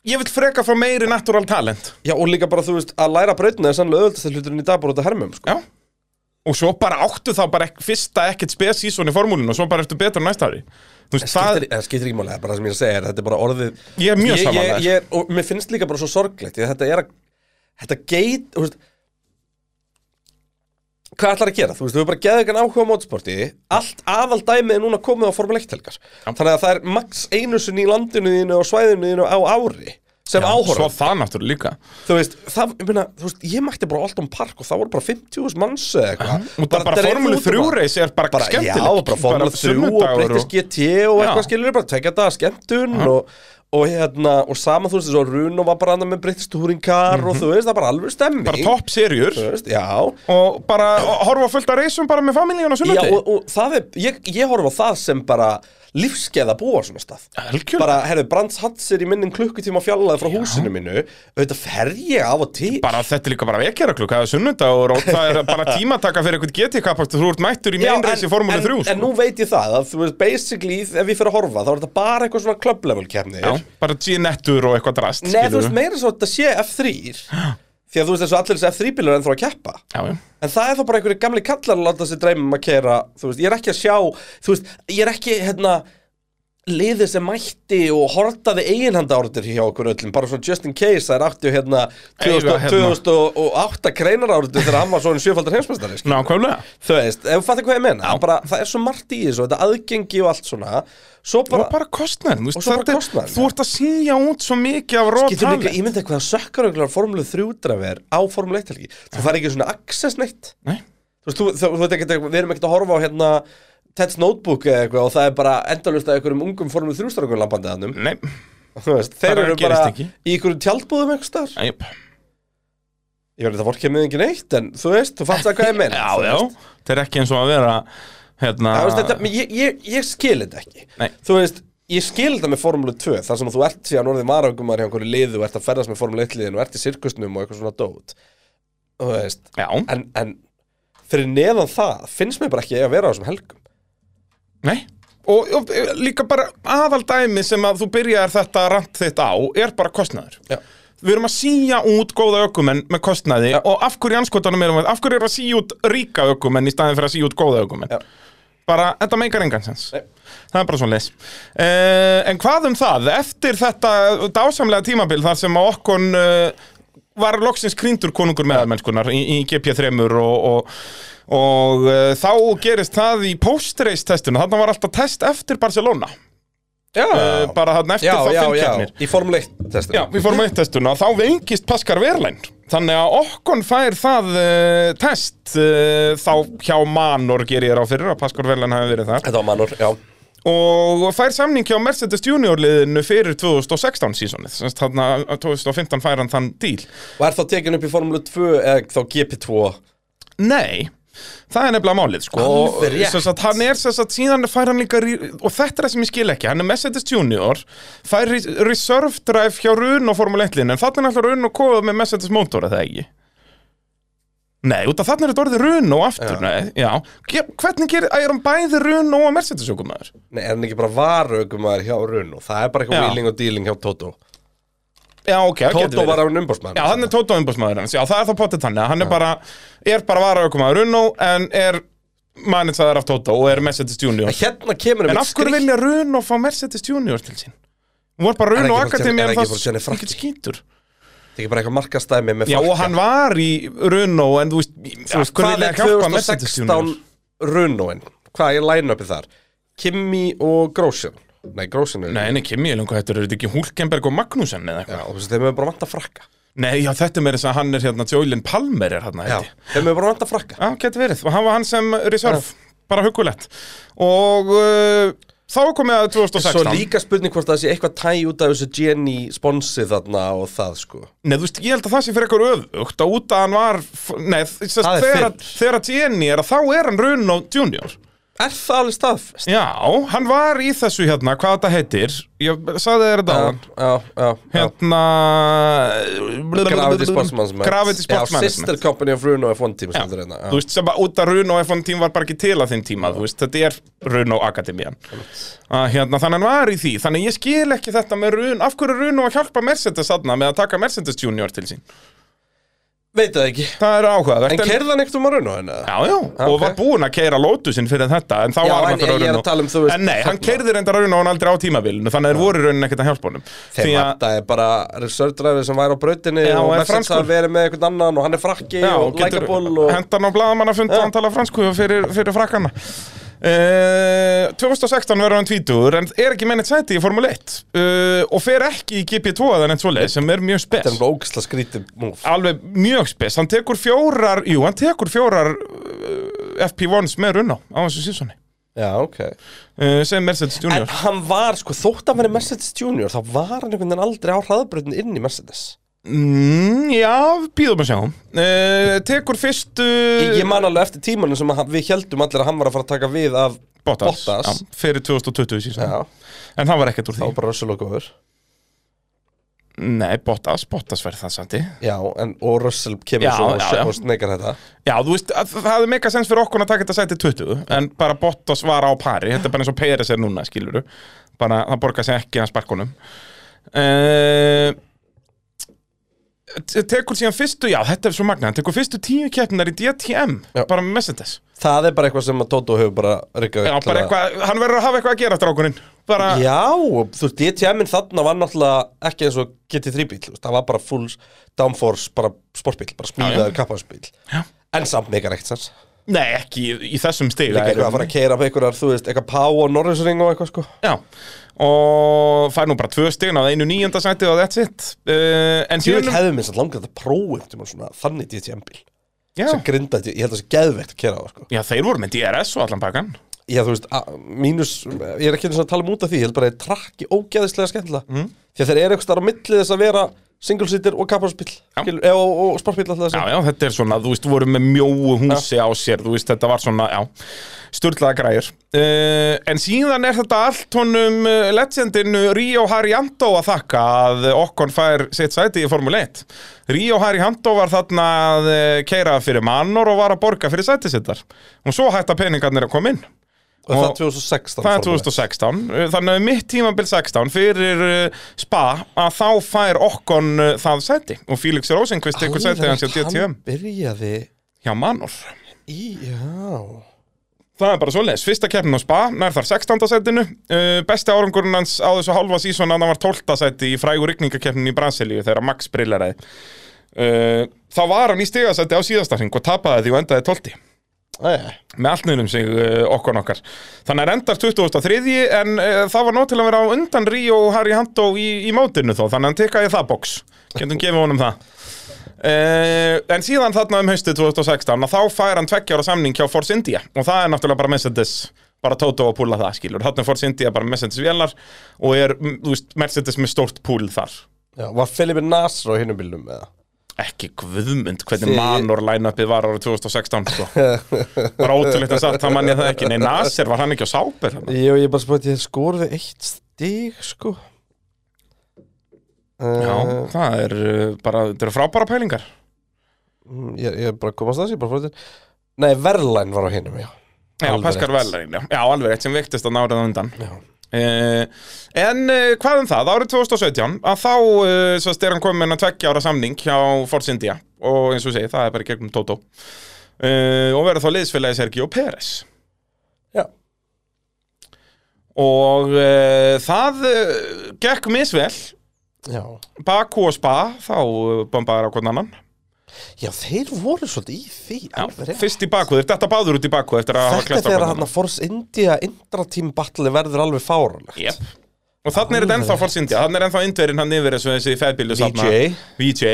Ég vil freka frá meiri natural talent Já, og líka bara, þú veist, að læra breytna er sannlega öðvöldast hluturinn í dag bara út að hermum, sko Já Og svo bara áttu þá bara ek fyrsta ekkert spesísón í formúlinu og svo bara ertu betur næsta ári Þú veist, það Skiptir, eða skiptir ekki máli, það er bara það sem ég er að segja er, þetta er bara orðið Ég er mjög sammála ég, þér. ég, og mér finnst líka bara svo sorglegt því að þetta er að þetta geit, þú veist hvað ætlar að gera, þú veist, við erum bara geðið ekki áhuga á mótsporti, allt aðal dæmið er núna komið á Formule 1 helgar þannig að það er max einu sinni í landinu þínu og svæðinu þínu á ári sem áhorf, Svo það náttúrulega líka þú veist, það, ég meina, þú veist, ég mætti bara á Alton Park og það voru bara 50.000 manns eða eitthvað Og bara, bara dreifðu formúlu út um 3 allt reis er bara, bara, skemmtilegt já, bara Formula 3 og sunnudagur breytist GT og Já. eitthvað skilur bara tekja þetta að skemmtun og, og hérna, og sama þú veist þess að Runo var bara annað með British Touring Car og þú veist, það er bara alveg stemming Mhm. bara topp serjur Þú veist, já, og bara og horfa fullt að reysum bara með familíun og Já, sunnundi og, og það er, ég, ég horf á það sem bara lífskeið að búa á svona stað Algjörlega. Bara, herðu, Brands Hats er í minnum klukkutíma fjallaði frá húsinu mínu Auðvitað fer ég af og til bara þetta er líka bara vekjara klukk það er sunnundagur og það er bara tímataka fyrir eitthvað GT-kapast þú ert mættur í Já, meinreis í sko. Formule 3 en, en nú veit ég það að þú veist, basically, ef ég fer að horfa þá er þetta bara eitthvað svona club level kemnir Já, bara G-nettur og eitthvað drast Nei, þú skilurðu. veist, meira svo að þetta sé F3 Því að þú veist, þessu allir þessi F3 bílar er ennþá að keppa Já, já. En það er þá bara einhverju gamli kallar að láta sér dreymum að kera, þú veist, ég er ekki að sjá, þú veist, ég er ekki, hérna, liðið sem mætti og hortaði eiginhanda árður hjá okkur öllum, bara svona just in case, það er áttu, hérna, Eiga, 2000 hérna. 2008 kreinar árður þegar hann var svona sjöfaldar heimsmeistari, sko. nákvæmlega Þú veist, ef þú fattir hvað ég menna, bara, það er svo margt í þessu, þetta aðgengi og allt svona, svo og bara, bara kostnæðin, þú veist, Og svo bara þetta er- kostnaðurinn, þú ert að síja út svo mikið af rót getur líka, ég myndi eitthvað að sökkar einhverjar formule 3 drafir á formule 1 helgi, þú fari ekki svona access neitt. Nei, þú veist, þú, þú, þú veit ekki, við erum ekkert að horfa á hérna Ted's Notebook eða eitthvað og það er bara endalust að einhverjum ungum formule 3 strákum lampandi þannum, nei, þú veist, þeir Bara eru gerist bara ekki. í einhverjum tjaldbúðum einhvers staðar æp ég verður það vorkið með engin eitt, en þú veist, þú fattar hvað ég meina Já, þú já, veist. þetta er ekki eins og að vera hérna Það, veist, þetta, ég, ég, ég skil þetta ekki Nei. þú veist, ég skil þetta með formule 2 þar sem þú ert síðan orðið marangumar hjá einhverju liðu og ert að ferðast með formule 1 liðin og ert í sirkusnum og eitthvað svona dót þú veist, Já, en, en fyrir neðan það, finnst mér bara ekki að vera á þessum helgum nei og, og e, líka bara aðaldæmi sem að þú byrjar þetta rant þitt á er bara kostnæður Já. Við erum að síja út góða ökumenn með kostnæði og af hverju anskotanum erum við, af hverju er að síja út ríka ökumenn í staðin fyrir að síja út góða ökumenn Já. Bara, þetta meikar engansens Nei. Það er bara svona leis En hvað um það, eftir þetta dásamlega tímabil þar sem að okkon uh, var loksins krýndur konungur meðalmennskunar í, í GP3 og, og, og uh, þá gerist það í post-race testinu, þarna var alltaf test eftir Barcelona já, uh, bara þarna eftir þá fimm keppnir í Formule 1 Já, testinu við fórum eitt testuna og þá veikist Paskar Verlæn Þannig að okkon fær það uh, test uh, þá hjá Manor gerir ég ráð fyrir að Paskar Verlæn hafi verið þar Þetta var mannur, já og fær samning hjá Mercedes Junior liðinu fyrir 2016 sísonið Semst, þarna, 2015 fær hann þann díl Og er þá tekin upp í Formule 2 eða þá GP2 Nei, það er nefnilega málið sko. Alveg rétt. Sem sagt, Hann er sem sagt, síðan fær hann líka rí- og þetta er það sem ég skil ekki, hann er Mercedes Junior fær res- reserve drive hjá Run og Formule 1 linu, en þannig er alltaf Run og kofað með Mercedes motor, eða ekki? Nei, út af þannig er þetta orðið Run og aftur, Já. nei, já Ge- Hvernig gerir, er hann bæði Run og Mercedes sjókumæður? Nei, er hann ekki bara varugumar hjá Runo Það er bara eitthvað Já. wheeling og dealing hjá Toto Já, ok, það getur Toto verið. var á umbósmann Já, hann er Tóto umbúsmaður hans, já, það er þá potið þannig að hann er bara, er bara varaaukumaður Runo en er manitsaður af Tóto og er Mercedes Junior Hérna kemur En af hverju vilja Runo fá Mercedes Junior til sín? Hún var bara Er Runo ekki frá Jenny- Akademi er en ekki það frá Jenny Franklin? ekkert skítur Það er bara eitthvað markastæmi með Já, og hann var í Runo en þú veist, Þú af veist, hverju hvað vilja er hjálpa Mercedes Junior? 2016 Runoin? Hvað er line-upið þar? Kimi og Grosjean Nei, Grosjean er Nei, en ekki mjög lengur, þetta eru þetta ekki Hulkenberg og Magnúsen eða Já, eitthvað og þú veist, þeim hefur bara vant að frakka Nei, já, þetta er meira þess að hann er hérna, Jólin Palmer er hérna, Já, heiti þeim hefur bara vant að frakka Já, getur verið, og hann var hann sem reserve, bara hugulegt Og uh, þá er komið að 2016 Svo líka spurning hvort það sé eitthvað tæ út af þessu Jenny sponsið þarna og það sko Nei, þú veist, ég held að það sé fyrir eitthvað öðugt að út að hann var, f- nei, Það þess, er þegar, að- fyrr. þegar að Jenny er að þá er hann Runo Junior Er það alveg staðfest? Já, hann var í þessu hérna, hvað þetta heitir Ég sagði þér þetta á hann já, já, já. Hérna Gravity Sports Management Gravity Sports Já, Sister Management Company of Runo F1 Team sem þetta er Þú hérna, veist, sem bara út að Runo F1 tím var bara ekki til að þinn tíma, þú veist, þetta er Runo Akademian að hérna, þannig hann var í því þannig ég skil ekki þetta með Run af hverju Run og að hjálpa Mercedes aðna með að taka Mercedes Junior til sín já Veit það ekki það er áhugavert En kerðan ekkert um að Runo henni? Já, já, og ok. var búinn að keira Lotusin fyrir þetta en þá Já, var en hann fyrir ég- ég er að tala um, þú veist, En nei, hann þarna. keirði reyndar raun og hann aldrei á tímabilinu þannig að þeir voru í rauninni ekkert að hjálpa honum Þeim Því að- þetta er bara reserve driver sem væri á brautinni Já, og og er Mercedes franskur. að vera með einhvern annan og hann er frakki Já, og getur- likeable og hendan á blaðamannafund og hann tala fransku fyrir, fyrir frakkana uh, 2016 verður hann tvítur en er ekki mennit sæti í Formule 1 uh, og fer ekki í GP2 eða neitt svoleið sem er mjög spes Þetta er bara ógisla skrítið múf alveg mjög spes, hann eh, tekur fjórar jú, hann tekur fjórar uh, FP1s með runna á þessu sísoni Já, ok uh, sem Mercedes En Junior hann var, sko, þótt að vera Mercedes Junior þá var hann einhvern veginn aldrei á hraðbröðin inn í Mercedes mm, Já, býðum að sjá uh, Tekur fyrst Ég, uh, ég man alveg eftir tímanum sem að, við heldum allir að hann var að fara að taka við af Bottas, Bottas. Já, Fyrir 2020 síðan Já, En það var ekkert úr þá því var bara Russell og góður Nei, Bottas, Bottas verði það sandi Já, en, og Russell kemur Já, svo og, já, já. já. og sneikar þetta Já, þú veist, að, það hefði meika sens fyrir okkur að taka þetta sæti 20 En bara Bottas var á pari Þetta er bara eins og Peres er núna, skilur Bara, það borgar sig ekki að sparkunum uh, Tekur síðan fyrstu, já, þetta er svo magna Tekur fyrstu tíu keppnar í DTM Já. Bara með Mercedes Það er bara eitthvað sem að Toto hefur bara rikkað Já, upp til bara að- eitthvað, hann verður að hafa eitthvað að gera strákurinn Bara, Já, og þú veist, DTM-in þarna var náttúrulega ekki eins og GT3 bíl, þú veist, það var bara full downforce, bara sportbíl, bara smíðaður kappansbíl. Já. En samt megar ekkert sens. nei, ekki í, í þessum stig Líka eitthvað að fara að keira á einhverjar, þú veist, eitthvað pá og norðisring og eitthvað, sko. Já, og fær nú bara tvö stigin af einu nýjönda sæti og that's it uh, En Ég veit síðan hefði minnst að langa þetta prófum til maður svona þannig DTM-bíl. Já. Sem grinda, ég held að það sé geðveikt að keira á, það, sko. Já, þeir voru með DRS og allan pakkan Já, þú veist, að- mínus, ég er ekki eins og að tala um út af því, ég held bara að trakki ógeðislega skemmtilega. Mm. Því að þeir eru eitthvað á milli þess að vera single-seater og kappansbíl, Já. skilur- eh, og, og sportbíl alltaf þess Já, já, þetta er svona, þú veist, voru með mjóu húsi á sér Þú veist, þetta var svona, já, sturlaða græjur uh, En síðan er þetta allt honum uh, legendinu Ríó Harjandó að þakka að okkon fær sitt sæti í Formule 1 Ríó Harjandó var þarna að uh, keira fyrir mannor og var að borga fyrir sæti sittar Og svo hætta peningarnir að koma inn Og það er Og- 2016 Það er formúla. 2016, uh, þannig að mitt tímabil 16 fyrir uh, spa að þá fær okkon uh, það sæti og Félix Rósinkvist tekur sæti hans hjá Alveg, Hann DTM byrjaði hjá Manor í, já Það er bara svoleiðis, fyrsta keppnin á spa, nær þar 16. setinu uh, Besti árangurinn hans á þessu halva sísona hann var 12. seti í frægur rigningakeppnin í Brasilíu þegar Max brilleraði uh, Þá var hann í stigasæti á síðasta hring og tapaði því og endaði 12. Æja, Með allt niður um sig uh, okkur nokkar Þannig er endar 2003 en uh, það var nóg til að vera á undan Ríó og Harry Handó í, í mótinu þó Þannig að hann tekaði það box, getum gefið honum það Uh, en síðan þarna um haustið 2016 að þá fær hann tveggja ára samning hjá Force India og það er náttúrulega bara Mercedes bara Toto að púla það skilur þarna er Force India bara Mercedes vélar og er mm, þú veist, Mercedes með stórt púl þar já, var Felipe Nasr á hinnum bílnum eða? ekki guðmynd hvernig Þið- manor line-upið var ára 2016 sko. bara ótrúleitt að satt, það mann ég það ekki nei, Nasser, var hann ekki á Sáber þarna? Jó, ég bara spurði, ég skorði eitt stig, sko já, Uh, það er uh, bara, þetta eru frábæra pælingar Mm, ég, ég bara komast þess, ég bara fór til Nei, Verlæn var á hinnum, já já, Alveg Pascal rétt. Vellerin, já. já, alveg rétt sem veiktist að nárið á undan Já, Uh, en uh, hvað um það, árið 2017 að þá uh, svo styrir hann komið með að tveggja ára samning hjá Force India og eins og segi, það er bara í gegnum Toto uh, og verður þá liðsfélagi Sergio Pérez já. og uh, það uh, gekk misvel já. Baku og Spa, þá uh, bombaðar á hvern annan Já, þeir voru svolítið í því alveg rétt. Fyrst í Baku, þeir detta báður út í Baku eftir að Þetta þegar hann að Force India Intrateam battle verður alveg fáranlegt yep. Og þannig er þetta ennþá Force India, þannig er ennþá indverinn hann yfir þessu þessi fæðbílu VJ. VJ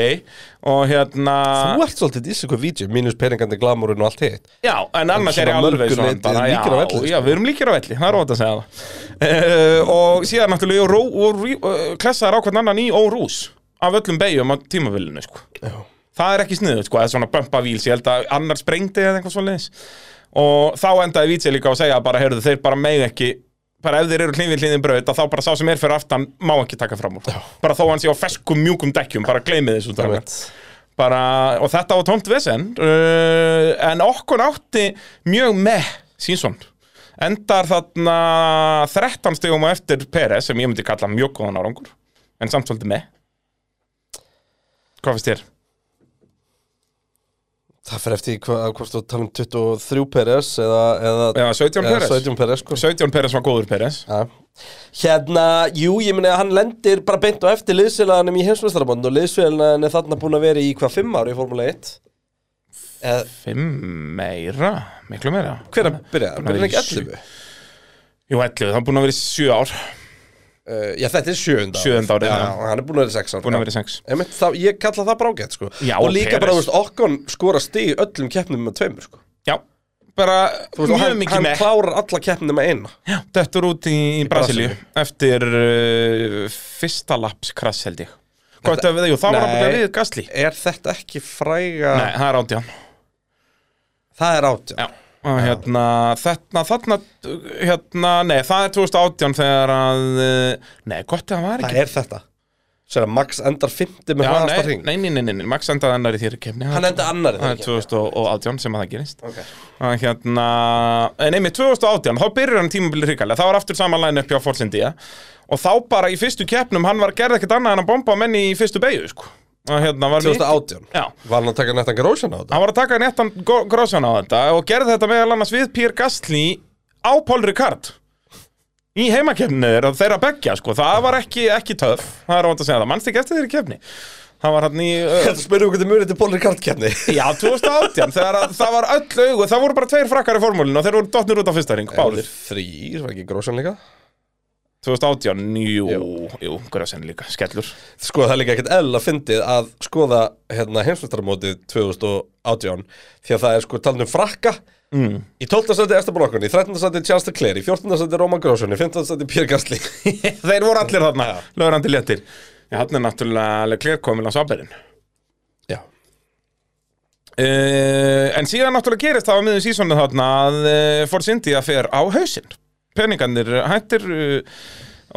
og hérna Þú ert svolítið í sig hvað vídeo, mínus peningandi glamurinn og allt hitt Já, en annars er ég svona alveg mörgu svona leyti bara, já, líkir á velli, sko. já, við erum líkir á velli, það er ótt að segja það uh, Og síðan náttúrulega ég og, ró, og rí, uh, klessaðar á hvern annan í órús Af öllum beigjum á tímavillinu, sko Já Það er ekki sniðut, sko, það er svona bömpa víls Ég held að annar sprengdi eða eitthvað svo leis Og þá endaði Vítsel líka að segja bara, heyrðu, þeir bara megi ekki Bara ef þeir eru hlýnvið hlýnvið braut að Þá bara sá sem er fyrir aftan má ekki taka fram úr Bara þó hann sé á ferskum mjúkum dekkjum, bara gleymið þessu Ég drákar veit. bara, og þetta var tómt vesen uh, en okkur átti mjög með sínsson endar þarna 13 stegum á eftir Peres sem ég myndi kalla mjög góðan árangur en samt svolítið með hvað finnst þér? Það fyrir eftir hva, hvort þú tala um 23 Peres eða, eða, Já, 17 eða Peres 17, 17 Peres sko. Peres var góður Peres ja. Hérna, jú, ég meni að hann lendir bara beint á eftir liðsfélaganum í heimsmeistarabond og liðsfélagan er þarna búin að vera í hvað 5 ári í Formule 1 eða, 5 meira, miklu meira Hvernig byrjaði? hann? Búin að Byrjaði hann vera í ekki 11 uh, Jú, 11, það er búin að vera í 7 ár Eh, Já, þetta er 7. Sjöunda árið, Já, já. hann er búin að vera í 6 ári búin að vera í 6 Einmitt, þá, ég kalla það bara ágætt sko Já, og líka Perez. bara, þú veist, okkon skora stig í öllum keppnum með tveimur sko Já, bara Þú veist, og mjög hann, mikið hann með klárar alla keppnum með eina Já, Dettur út í, í Brasilíu eftir uh, fyrsta lapskrass held ég Hvort að við, jú, þá var hann bara Nei. við gasli Er þetta ekki fræga Nei, það er átján Það er átján Já Og hérna, þarna, þarna, hérna, nei, það er 2018 þegar að, uh, nei, gott að það var Það ekki er þetta Sér að Max endar 50 með Já, hraðasta nei, hring nei, nei, nei, nei, nei, Max endaði annar í þýri kemni Hann endaði annar í þeirri Það er 2018 sem að það gerist okay. að hérna, nei með 2018 þá byrjar hann tímabilið hrikalega, þá er aftur samanlæðin upp hjá Forsyndía og þá bara í fyrstu keppnum, hann var gerð ekkert annað en að bomba menni í fyrstu beigju, sko að hérna var mikið- 2018 Já, Var hann að taka nættan Grósjan á þetta? hann var að taka nettan grósan á þetta og gerði þetta meðal annars við Pierre Gasly á Paul Ricard í heimakeppninu þeirra, þeirra beggja, sko, það var ekki, ekki töf, það er óvænt að segja það, mannst ekki eftir þeirri keppni Það var hann í uh, Þetta spyrir okkur til munið til Pólir Kartkeppni Já, 2018, þegar að það var öll augu Það voru bara tveir frakkar í formúlinu og þeir voru dottnir út á fyrsta ring, báðir Þrýr, var ekki Grósjan líka? 2018, jú, Jú. jú, Grösen líka, skellur Sko það er líka ekkert eðla fyndið að skoða hérna heimsmyndarmótið 2018 því að það er sko talin um frakka mm. í 12. seti Esther Brokkun, í 13. seti Charles de Claire, í 14. seti Roman Grósson, í 15. seti Pierre Gasly Þeir voru allir þarna, lögrandi léttir Já, hann er náttúrulega Leclerc komin á sáberinn Já, uh, En síðan náttúrulega gerist það á miðum sísónu þarna að uh, Force India fer á hausinn Peningarnir hættir uh,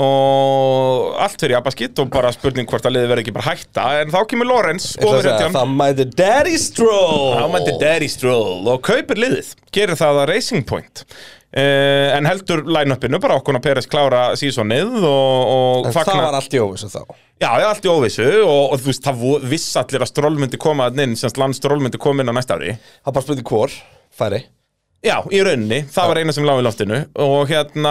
og allt fyrir abaskitt og bara spurning hvort að liði verði ekki bara að hætta en þá kemur Lorenz Ég ætla að ofurhetjan. segja, það mæti Daddy Stroll Þá mætti Daddy Stroll og kaupir liðið, gerir það að Racing Point uh, en heldur line-upinu bara okkur að Peres klára sísonið og, og En það var allt í óvissu þá Já, já, allt í óvissu og, og þú veist, það vo- viss allir að Stroll myndi koma að inn, semst land Stroll myndi koma inn á næsta ári Það bara spurði hvor, færi Já, í rauninni, það var eina sem lág í loftinu og hérna,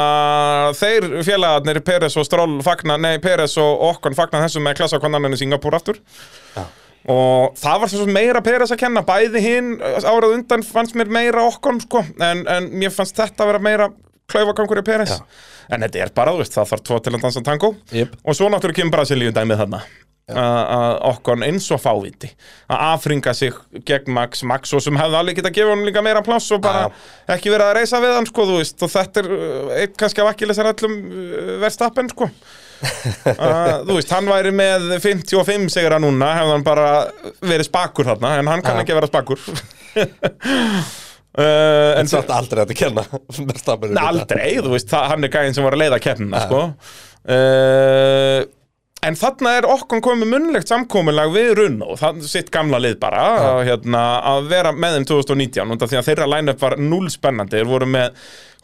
þeir félagarnir Peres og Stroll fagna, nei, Peres og Okkon fagna þessum með klasa konaninu Singapúr aftur og það var svo sem meira Peres að kenna, bæði hinn árað undan fannst mér meira Okkon sko, en, en mér fannst þetta að vera meira klaufakangur í Peres, en þetta er bara, þú veist, það þarf tvo til að dansa tango Jep. og svo náttúrulega kemur Brasilíu dæmið þarna að að Okkon eins og fáviti að afringa sig gegn Max Max og sem hefði alveg geta gefið honum líka meira pláss og bara Já. ekki verið að reysa við hann sko, þú veist, og þetta er uh, einn kannski af akkilesar allum verðstappen sko. uh, þú veist, hann væri með 55 segra núna, hefði hann bara verið spakur þarna, en hann kann Já. ekki að vera spakur uh, En satt aldrei að þetta kenna Verstappen um Nei, þetta. aldrei, þú veist, það, hann er gæðin sem var að leiða keppnina, sko uh, En þarna er okkur komið munnlegt samkomulag við Runó, það sitt gamla lið bara að, hérna, að vera með þeim 2019 undan því að þeirra line-up var null spennandi þeir voru með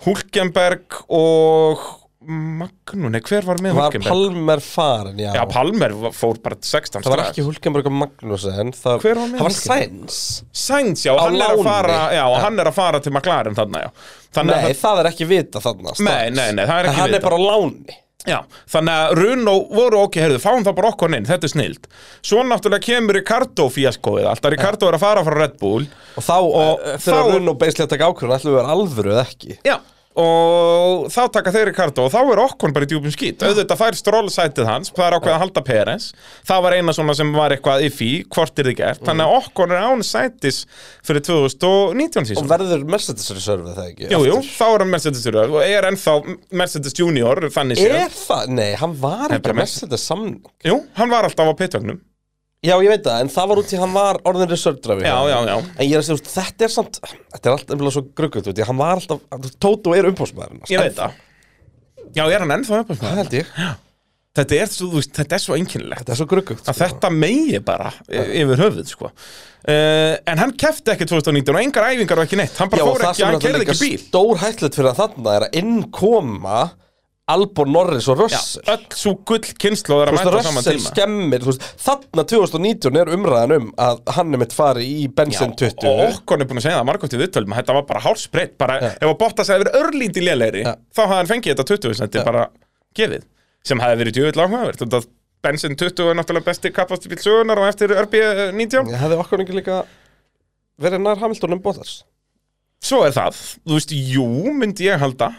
Hulkenberg og Magnúni, hver var með Var Hulkenberg? Palmer farin, já, Já, Palmer var- fór bara sko. 16 Það var strax. ekki Hulkenberg og Magnussen Það, Hver var með það var Hulkenberg? Sainz Sainz, já, Á hann er, að láni. fara, já, hann er að fara til McLaren þarna, já Þannig að Nei, það er ekki vita þarna strax. Nei, nei, nei, það er En ekki Hann vitað. er bara á láni Já, þannig að Runo voru ok, heyrðu, fáum það bara okkur inn, þetta er snild Svo náttúrulega kemur Ricardo fíaskoið, alltaf Ricardo er að fara frá Red Bull Og þá, og, þegar þá- þá... Runn og Beisley að taka ákvörðun ætlum við að vera alvöru eða ekki Já, og þá taka þeir Ricardo og þá er okkur bara í djúpum skít Auðvitað fær strólsætið hans, það er ákveð að halda Peres Það var eina svona sem var eitthvað if í, hvort er þið gert Mm. Þannig að okkur er án sætis fyrir 2019 Og sísum verður Mercedes reserve það ekki Jú, jú, aftur? þá er hann Mercedes Junior og er ennþá Mercedes Junior, þannig séð Er það? Nei, hann var Nei, ekki bara að Mercedes samning Jú, hann var alltaf á pitvögnum Já, ég veit það, en það var út í hann var orðin reserve drive Já, já, já En ég er að segja, þú veist, þetta er samt Þetta er alltaf einhverjum svo gruggut út í Hann var alltaf, þú veist, Tóto er umbósmaðurinn Ég veit það Já, er hann ennþá Það uppáðsmaður? held ég, Þetta er svo, þú veist, þetta er svo einkennilegt þetta er svo sko. gruggut að þetta megi bara y- yfir höfuð, sko uh, En hann kefti ekki 2019 og engar æfingar og ekki neitt Hann bara Já, og fór það ekki, sem er hann kerði náttúrulega ekki líka bíl stór hættilegt fyrir að þarna er að innkoma Albon Norris og Já, Russell öll svo gull kynnslóð er Þú að veist, mæta á saman Russell tíma skemmir, þú veist, þarna 2019 er umræðan um að hann er mitt fari í Benson 20 og okkon er búin að segja það margótt í viðtölum að þetta var bara hálsbreytt, bara ef að Bottas hefði verið örlíti lélegri, Já. þá hafði hann fengið þetta 20 þetta er bara gefið, sem hefði verið djöfull áhugavert, þetta Benson 20 er náttúrulega besti kappastibíl sögunar og eftir RB19 Ég hefði okkur ekki líka verið nær Hamilton um Bottas Svo er það, þú veist, jú, myndi ég halda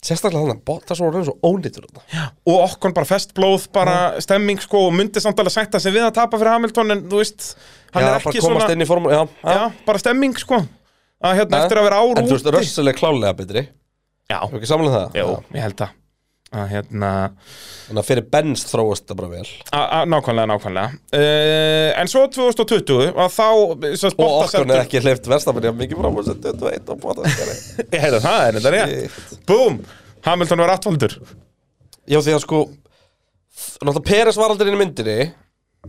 Sérstaklega þannig að Bottas voru eins og ónýtur þetta Og okkur bara festblóð, bara stemming sko Og myndi samt alveg sætta sig við að tapa fyrir Hamilton En þú veist, hann Já, er bara ekki komast svona inn í formúlu, já, já. Já, bara stemming sko að hérna, Ha? eftir að vera ár En þú úti veist, Russell er klálega betri Þú Já, ekki samanlega það? já, ég held það að hérna, Þannig að fyrir Benz þróast það bara vel að, að, nákvæmlega, nákvæmlega uh, en svo 2020 að þá, svo Og spotta okkur er ekki hleyft verstafan Ég mikið frá og setja 21 og bóta Já ég heyrði það, er þetta rétt Shit. búm, Hamilton var aftvaldur því að sko Náttúrulega Peres var aldrei inn í myndinni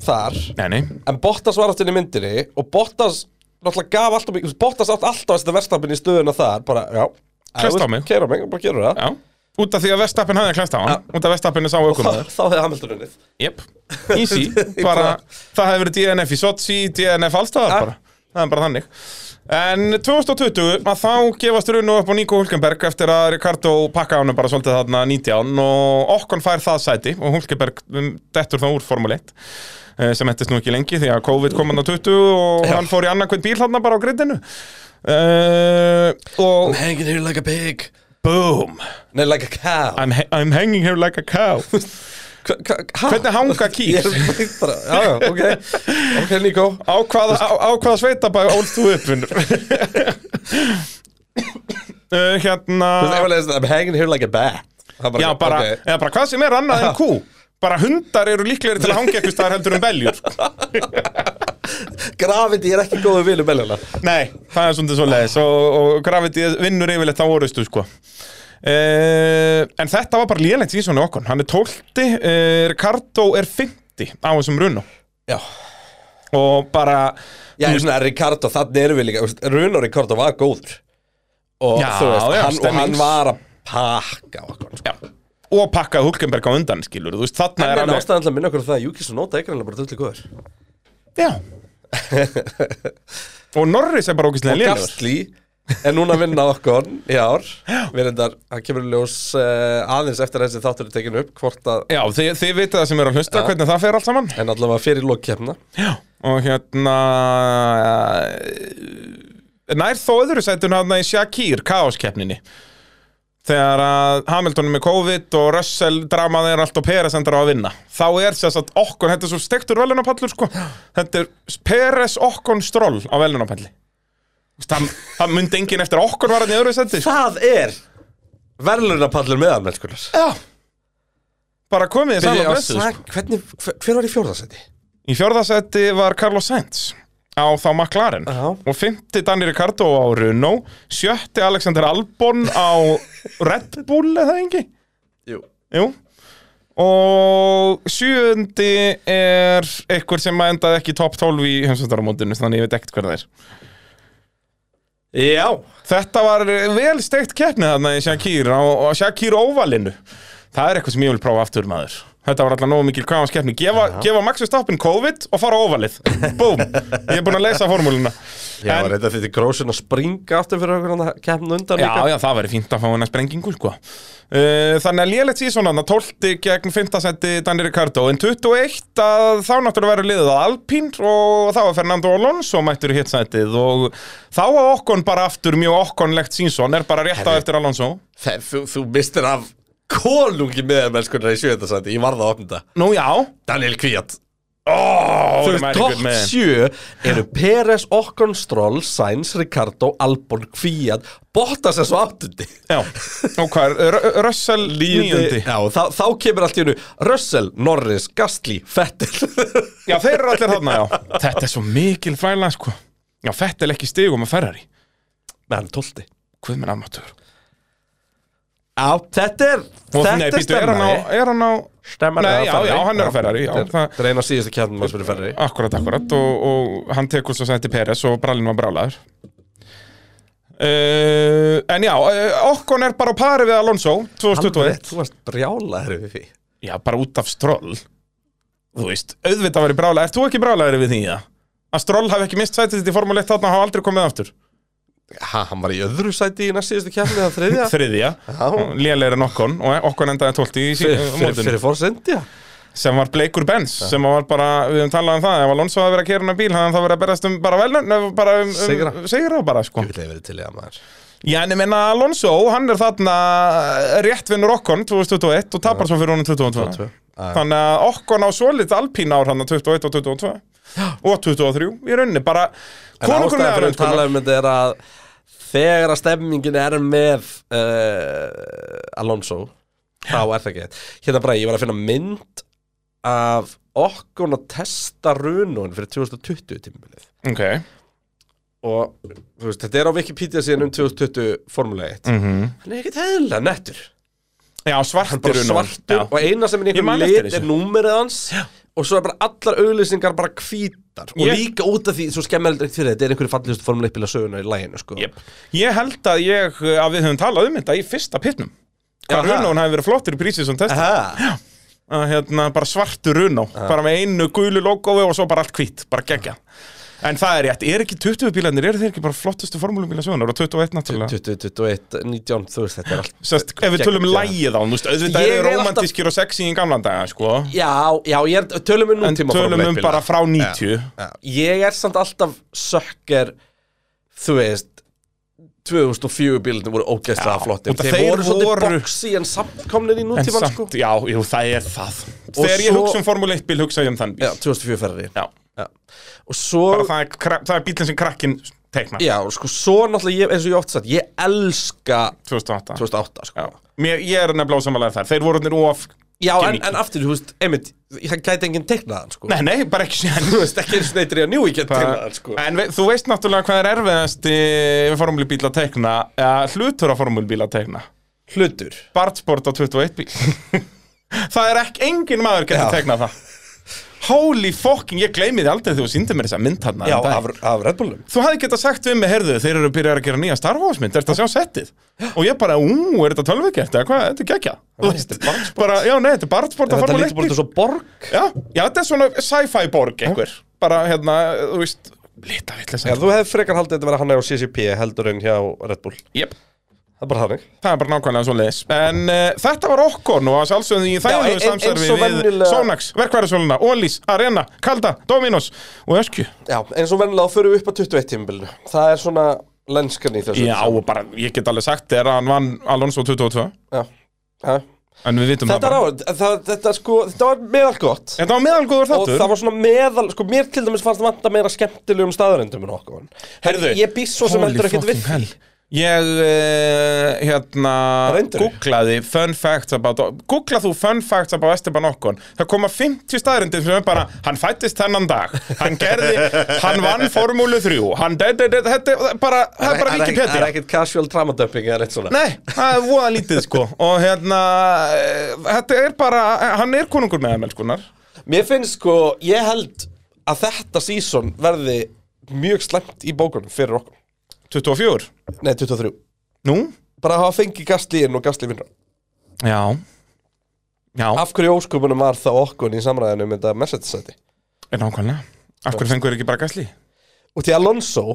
Þar nei, nei, En Bottas var alltaf inn í myndinni Og Bottas Náttúrulega gaf alltaf mikið Bottas átt alltaf að setja verstafan í stöðuna þar Bara, já Klest á mig. Keira mig, bara gerur það já út af því að Vestappin hafði klæst á hann, út af Vestappin er sá Þá aukumaður þá hefði Hamilton unnið Jep, easy bara, Það hefði verið DNF í Sochi, DNF allstaðar Ah. bara Það er bara þannig En 2020, að þá gefast Runo upp á Nico Hulkenberg eftir að Ricardo pakka hann bara svolítið þarna 19 og Okkon fær það sæti og Hulkenberg um, dettur þá úr Formule 1 eh, sem hettist nú ekki lengi því að COVID kom hann á 20 og Já. hann fór í annarkvæmt bíl þarna bara á grittinu uh, og Hanging here like a pig boom Nei, like a cow I'm, ha- I'm hanging here like a cow Hvernig Hvernig hanga kýr? Ég er bara, já, já, ok Ok, Nico Á hvaða, á, á hvaða sveitabæ ólst þú upp, vinnur? uh, hérna... Þú veist, ef að leiðist, I'm hanging here like a bat Það er Já, bara, ok. eða bara hvað sem er annað en kú. Bara hundar eru líklegri til að hangja eitthvað staðar heldur um beljur. sko. Gravity er ekki góðu vinur meljana Nei, það er svona svo leiðis og, og Gravity vinnur yfirleitt á orustu, sko. Uh, en þetta var bara lélegt í svona okkur. Hann er 12, uh, Ricardo er 50 á þessum runum. Já Og bara, Já, en svona Ricardo, þannig erum við líka þú veist, Runo Ricardo var góður Og Já, þú veist, já, hann, og stemmings. hann var að pakka okkur sko. já, og pakkaði Hulkenberg á undan, skilur. Þú veist, þarna En er en alveg... ástæðan til að minna okkur á það að Júkis og Nóta eiginlega bara dulli góður Já Og Norris er bara ógæslega Og lélegur Gastli er núna að vinna okkur í ár Við reyndar, hann kemur í ljós uh, aðeins eftir að þessi þáttur er tekinu upp Hvort að, Já, þið, þið vitið það sem eru að hlusta, hvernig það fer allt saman en allavega fyrir lokkefna Já Og hérna eh, Nær þó öðru sætun hann í Shakir, kaoskeppninni Þegar að Hamilton er með COVID og Russell dramaði er allt og Peres endur á að vinna Þá er þess að okkon, þetta er svo stektur velunapallur sko Þetta er Peres okkon stról á velunapalli Það, það myndi enginn eftir að okkon var hann í öðru sæti sko. Það er verðlunapallur meðan, mennskunar Já Bara komið þið saman blessuð sko. Hvernig, hver, hver var í fjórðarsæti? Í fjórðasetti var Carlos Sainz á þá McLaren Já. og fymti Danny Ricardo á Renault sjötti Alexander Albon á Red Bull eða engi Jú Jú og sjöndi er einhver sem endaði ekki í top 12 í heimsvöldaramótinu þannig ég veit ekkert hver það er Já Þetta var vel steikt keppni þarna í Shakir og, og Shakir óvalinu Það er eitthvað sem ég vil prófa aftur maður Þetta var alltaf nógu mikil kvæmans keppni Gefa, gefa Maxi Stappin COVID og fara á óvalið Búm, ég er búinn að leysa formúluna Já, En- en, reynda þetta grósin að springa aftur fyrir okkur að kemna undan Já, já, það væri fínt að fá hennar sprengingu, sko. Uh, þannig að lélegt síðan hann að 12 gegn 5. seti Danny Ricardo, en 21 að þá náttúrulega verið liðið að Alpín og þá að Fernando Alonso mættur í hitt setið og þá að okkon bara aftur mjög okkonlegt sínsson er bara rétt á eftir Alonso. Þegar þú, þú mistir af konungi meðan mennskunar í sjöðarsæti Ég varða að opna þetta Nú já, Daniel Kvíat oh, Þú veist, topp sjö eru Peres, Okkon, Stroll, Sainz, Ricardo, Albon, Kvíat Bottas er svo áttundi Já, og hvað er, Ru- Russell níundi Já, þá, þá kemur allt í hennu Russell, Norris, Gastli, Fettel Já, þeir eru allir þarna, já Þetta er svo mikil þvæla, sko Já, þetta er ekki stigum að Ferrari Nei, hann er tólti Hvað minn amatör Já, þetta er Og Þetta nei, er býttu, er hann á, stemmari er hann á Stemmari Nei, eða já, Ferrari? já, hann er á Ferrari, já, Þetta er- það- Þetta er eina síðustu kjarnum að spyrir Ferrari Akkurat, akkurat Og, og hann tekur svo sætti Peres og brallin var brálaður uh, En já, uh, Okkon er bara á pari við Alonso 2021 Þú varst brjálaður við því Já, bara út af stról Þú veist, auðvitað verið brálaður Ert þú ekki brálaður við því, já? Að stról hafi ekki mist sætið þitt í Formule 1 þarna og hafa aldrei komið aftur Ha, hann var í öðru sæti í næst síðustu kjarni eða þriðja þriðja lélegri en okkon og okkon endaði 12 í sí- Fyrir, fyrir, mótinu fyrir fórsindi já. sem var Bleikur Benz sem var bara, við höfum talað um það ef Alonso hafði verið að kera hennar bíl hann það verið að berast um bara velun bara um, Sigra. um sigra bara sko Ég vil hefur verið til í að maður Já en ég menna Alonso, hann er þarna eh, rétt vinnur okkon 2021 og tapar svo fyrir honum 2022 Já. þannig að okkon á svolít alpín ár hann 21 og 22 og 23 í rauninni bara En ástæðan konungulega fyrir að raun tala um þetta er að þegar að stemmingin er með uh, Alonso þá er það ekki þetta. hérna bara ég var að finna mynd af okkur að testa runun fyrir 2020 tímabilið Ok og þú veist, þetta er á Wikipedia síðan um 2020 Formule 1 hann er ekkert heðilega nettur mhm. Já, svartur bara unum. svartur Já. og eina sem er í Ég man einhverjum eftir lit þessu. er númerið hans og svo er bara allar auglýsingar bara hvítar og Ég- líka út af því, svo skemmar þetta ekkert fyrir þetta er einhverju fallegustu formuleikbíla söguna í læginu sko. Jep. Ég held að ég, að við höfum talað um þetta í fyrsta pitnum Hvað Jaha. Runón hafi verið flottur í prísið sem testa Aha, að, hérna, Bara svartur Runó Bara með einu gulu logoi og svo bara allt hvít Bara geggja En það er rétt, er ekki 20 bílarnir, eru þeir ekki bara flottustu formúlubíla sögunar og 21 náttúrulega? 20, 21, 19, þú veist þetta er allt Sest, ef við tölum Geggjað. lægið á, þú veist, auðvitað Ég eru er alltaf- romantískir og sexy í gamlan daga, sko Já, já, ég er, tölum um En nútíma tölum um formuleikbíla. bara frá 90 Já, Ég er samt alltaf sökker þú veist 2004 bílunum voru ógeðslega Já, flottir og þeir þeir voru svolítið voru- boxi en samt komnir í En nútíman samt, sko já, jú, það er það Þegar ég svo- hugsa um Formule 1 bíl, hugsa ég um þann bíl Já, 2004 ferri Já. Já. Og svo Bara það er, kra- það er bílinn sem krakkin teikna Já, sko, svo náttúrulega, ég, eins og ég oft sagt, ég elska 2008 2008, sko. Já. Mér, Ég er nefnilega ósamalega þar, þeir voru nýr of Já, en, Gimmicky. en aftur, þú veist, einmitt, það gæti enginn teiknað hann, sko. Nei, nei, bara ekki sér Þú veist, ekki eins og neitt reyða njú, ég get teiknað hann, sko. En vei, þú veist náttúrulega hvað er erfiðast í formúlubíl að teikna eða hlutur á formúlubíl að teikna Hlutur. Bartsport á 21 bíl Það er ekki, engin maður getur Já. teiknað það Holy fucking, ég gleymi þið aldrei þegar þú sýndir mér þessa mynd hann Já, af, af Red Bullum. Þú hafði getað sagt við mig, heyrðu, þeir eru byrjar að gera nýja Star Wars mynd, ertu að sjá settið? Og ég bara, ú, er þetta tölvugert, eða hvað, þetta er gekkja Þú veist, bara, já, nei, þetta er barnsport að Þetta formúlu lítur bara út eins og borg. Já, já, þetta er svona sci-fi borg einhver Bara, hérna, þú veist, lita Já, vitlega þú hefði frekar haldið þetta verið hann á CCP heldur en hjá Red Bull. Jep, Það er bara þannig. það er bara nákvæmlega svo leis En uh, þetta var okkur nú, að sjálfsögðu Já, í ein- ein- þægilegu eins samstarfi og við venjulega- Sonax, Verkværisöluna, Ólís, Arena, Kalda, Dominos og Öskju Já, eins og vennilega förum við upp á 21 tímabilinu. Það er svona lenskan í þessu. Já, og bara, ég get alveg sagt þér að hann vann Alonso 22 Já. Já. En við vitum Þetta, það er bara á, það, þetta, sko, þetta var meðal gott. Þetta var meðalgóður og þáttur það var svona meðal, sko mér til dæmis fannst vanta meira skemmtilegum staðarendum en okkur Heyrðu, ég býst svo sem Holy heldur ekkert fucking við hell. Ég, uh, hérna, Reyndirðu? googlaði fun facts about, googlað þú fun facts about Esteban Okkon, það koma 50 staðrindir sem er bara, hann fættist þennan dag, hann gerði, hann vann Formúlu 3, hann, de, de, de, þetta er bara, það er Það bara er Wikipedia. ekkert casual trauma dumping eða neitt svona Nei, það er voða lítið sko, og hérna, eh, þetta er bara, hann er konungur með ML-skunar. Mér finnst sko, ég held að þetta season verði mjög slæmt í bókunum fyrir okkur 24. Nei, 23 Nú? Bara að hafa fengið gasli inn og gasli vinnur Já. Já. Af hverju óskupunum var þá okkur í samræðinu um þetta message seti Er nákvæmlega Af hverju fengur ekki bara gæsli? Og því Alonso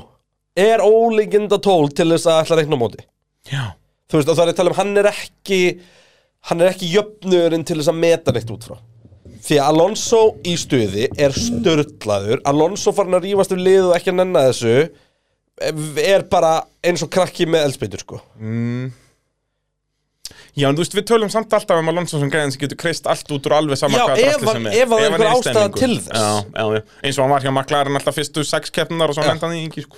er ólíkinda tól til þess að ætla að reikna á móti Já Þú veist, og það er að tala um hann er ekki hann er ekki jöfnurinn til þess að meta neitt út frá því að Alonso í stuði er störtlaður Alonso farin að rífast um lið og ekki að nenna þessu er bara eins og krakki með eldspytur sko Já, en þú veist, við tölum samt alltaf um Alonso sem gæðin sem getur kreist allt út úr alveg sama Já, hvaða ef drasli hann- sem ef hann hann einhver er í ástæða stemningu. til þess. Já, já, já, eins og hann var hjá maklarinn alltaf fyrstu sex keppnar og svo hann hann í yngi sko.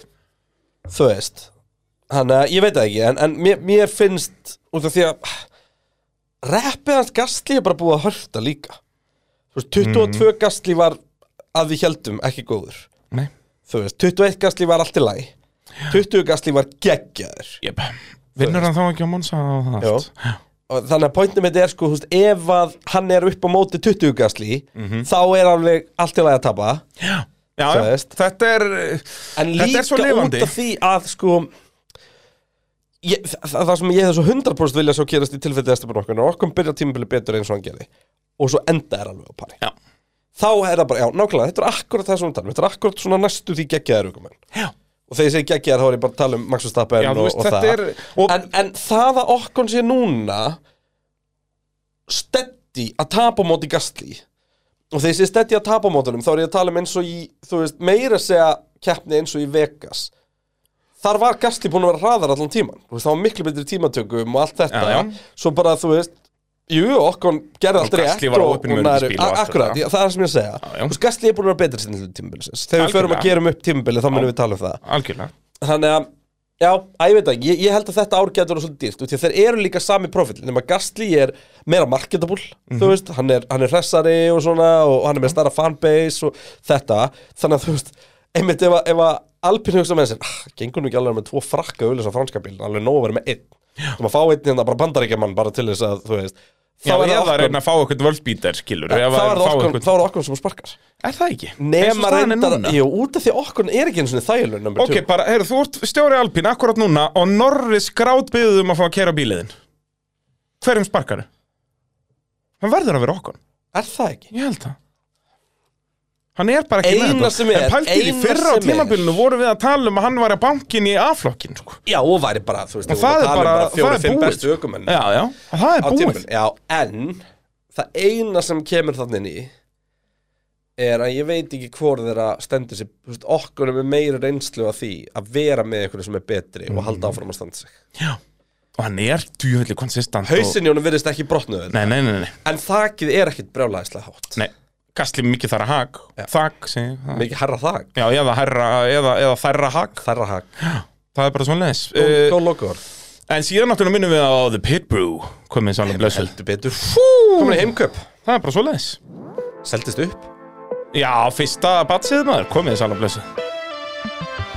þú veist hann að ég veit það ekki en, en mér, mér finnst út af því að reppið hans gastli er bara búið að hörta líka þú veist 22 gastli var að við heldum ekki góður Nei þú veist 21 gastli var allt í læ 20 gastli var geggjaður Jep Vinnur hann þá ekki á Monsa og það Já. allt? Já og þannig að pointum þetta er sko þú veist, ef að hann er upp á móti 20 gasli Mhm. þá er alveg allt í lagi að tapa Já, já, Þú veist. þetta er eh, en Þetta er líka svo út lifandi. af því að sko ég, það, það sem ég hef svo 100% vilja svo gerast í tilfelli Esteban okkur og okkur byrja tímabili betur eins og hann gerði og svo enda er alveg á pari Já, þá er það bara, já, nákvæmlega, þetta er akkurat það sem hún tala um. þetta er akkurat svona næstu því geggjaðar aukumenn já og þegar ég segi geggjaðar þá er ég bara að tala um Max Verstappen Já, og, þú veist, og þetta það er- og- en, en það að okkon sé núna steddi að tapa á móti gastli og þegar ég sé steddi að tapa á mótunum þá er ég að tala um eins og í, þú veist, meira að segja keppni eins og í Vegas þar var gastli búin að vera hraðar allan tíman þú veist, það var miklu betri tímatökum og allt þetta Já, já. svo bara, þú veist Jú, okkon gerði allt rétt Gasly var á opinum nær- öryggisbíl og allt Akkurat, þetta. já, það er það sem ég að segja já. Þú veist, Gasly er búin að vera betri sinni tímabilisins Þegar við förum að Algjörlega. gerum upp tímabilið þá munum við tala um það Algjörlega Þannig að Já, að ég veit ekki, ég, ég held að þetta ár getur verið svolítið dýrt út því að þeir eru líka sami profil nema Gastli er meira marketable Mhm. þú veist, hann er, hann er hressari og svona og hann er með starra fanbase og þetta, þannig að þú veist einmitt ef, að- ef að Alpin hugsa með þessi ah, gengur nú ekki alveg með tvo frakka auðvitað franska bíl, alveg nóg að vera með einn þú maður fá einn hérna bara bandaríkjaman bara til þess að, þú veist þá Já, er eða það að okkur- reyna að fá eitthvað völdbítar, skilur þá er það fá okkur- einhvern- þá er það okkur sem sparkar Er það ekki? Eins og nema staðan er reyndar, núna? jú, út af því að okkur er ekki einu sinni þægilegur number Ok, two. bara, heyrðu, þú ert stjóri Alpín akkurat núna og Norris grátbyggðum um að fá að kera bíliðin Hverjum sparkaru? Hann verður að vera okkur er það ekki? Ég held það Hann er bara ekki Eina með þetta. sem er, En pæltir í eina fyrra sem á er. tímabilinu vorum við að tala um að hann var að bankin í A-flokkin sko. Já, og væri bara, þú veist, Og við vorum að það er tala um bara- það fjóri, er fimm búið. bestu ökumenn Já, já, Mm. það á er búið tímabilinu. Já, en það eina sem kemur þannig inn í er að ég veit ekki hvort þeirra stendur sig, þú veist, okkur er með meira reynslu að því að vera með einhverju sem er betri og Mhm. halda áfram að standa sig. Já, og hann er djúvillig konsistant og... Hausin í honum virðist ekki brotnuð Nei, nei, nei, nei, en þakið er ekkit brjálæðislega hátt. nei. Kastli mikið þarra hag Þag, segi ég. það. Mikið herra þak, Já, eða, herra, eða, eða þærra hag þerra hak, Eh, Það er bara Eh, svona leis góð lokuður. En síðan náttúrulega minnum við á The Pit Brew komið sann og blöðsöld Heldur betur. Komin í heimköp, Það er bara svo leiðis seldist upp. Já, fyrsta batsið maður komið sann og blöðsöld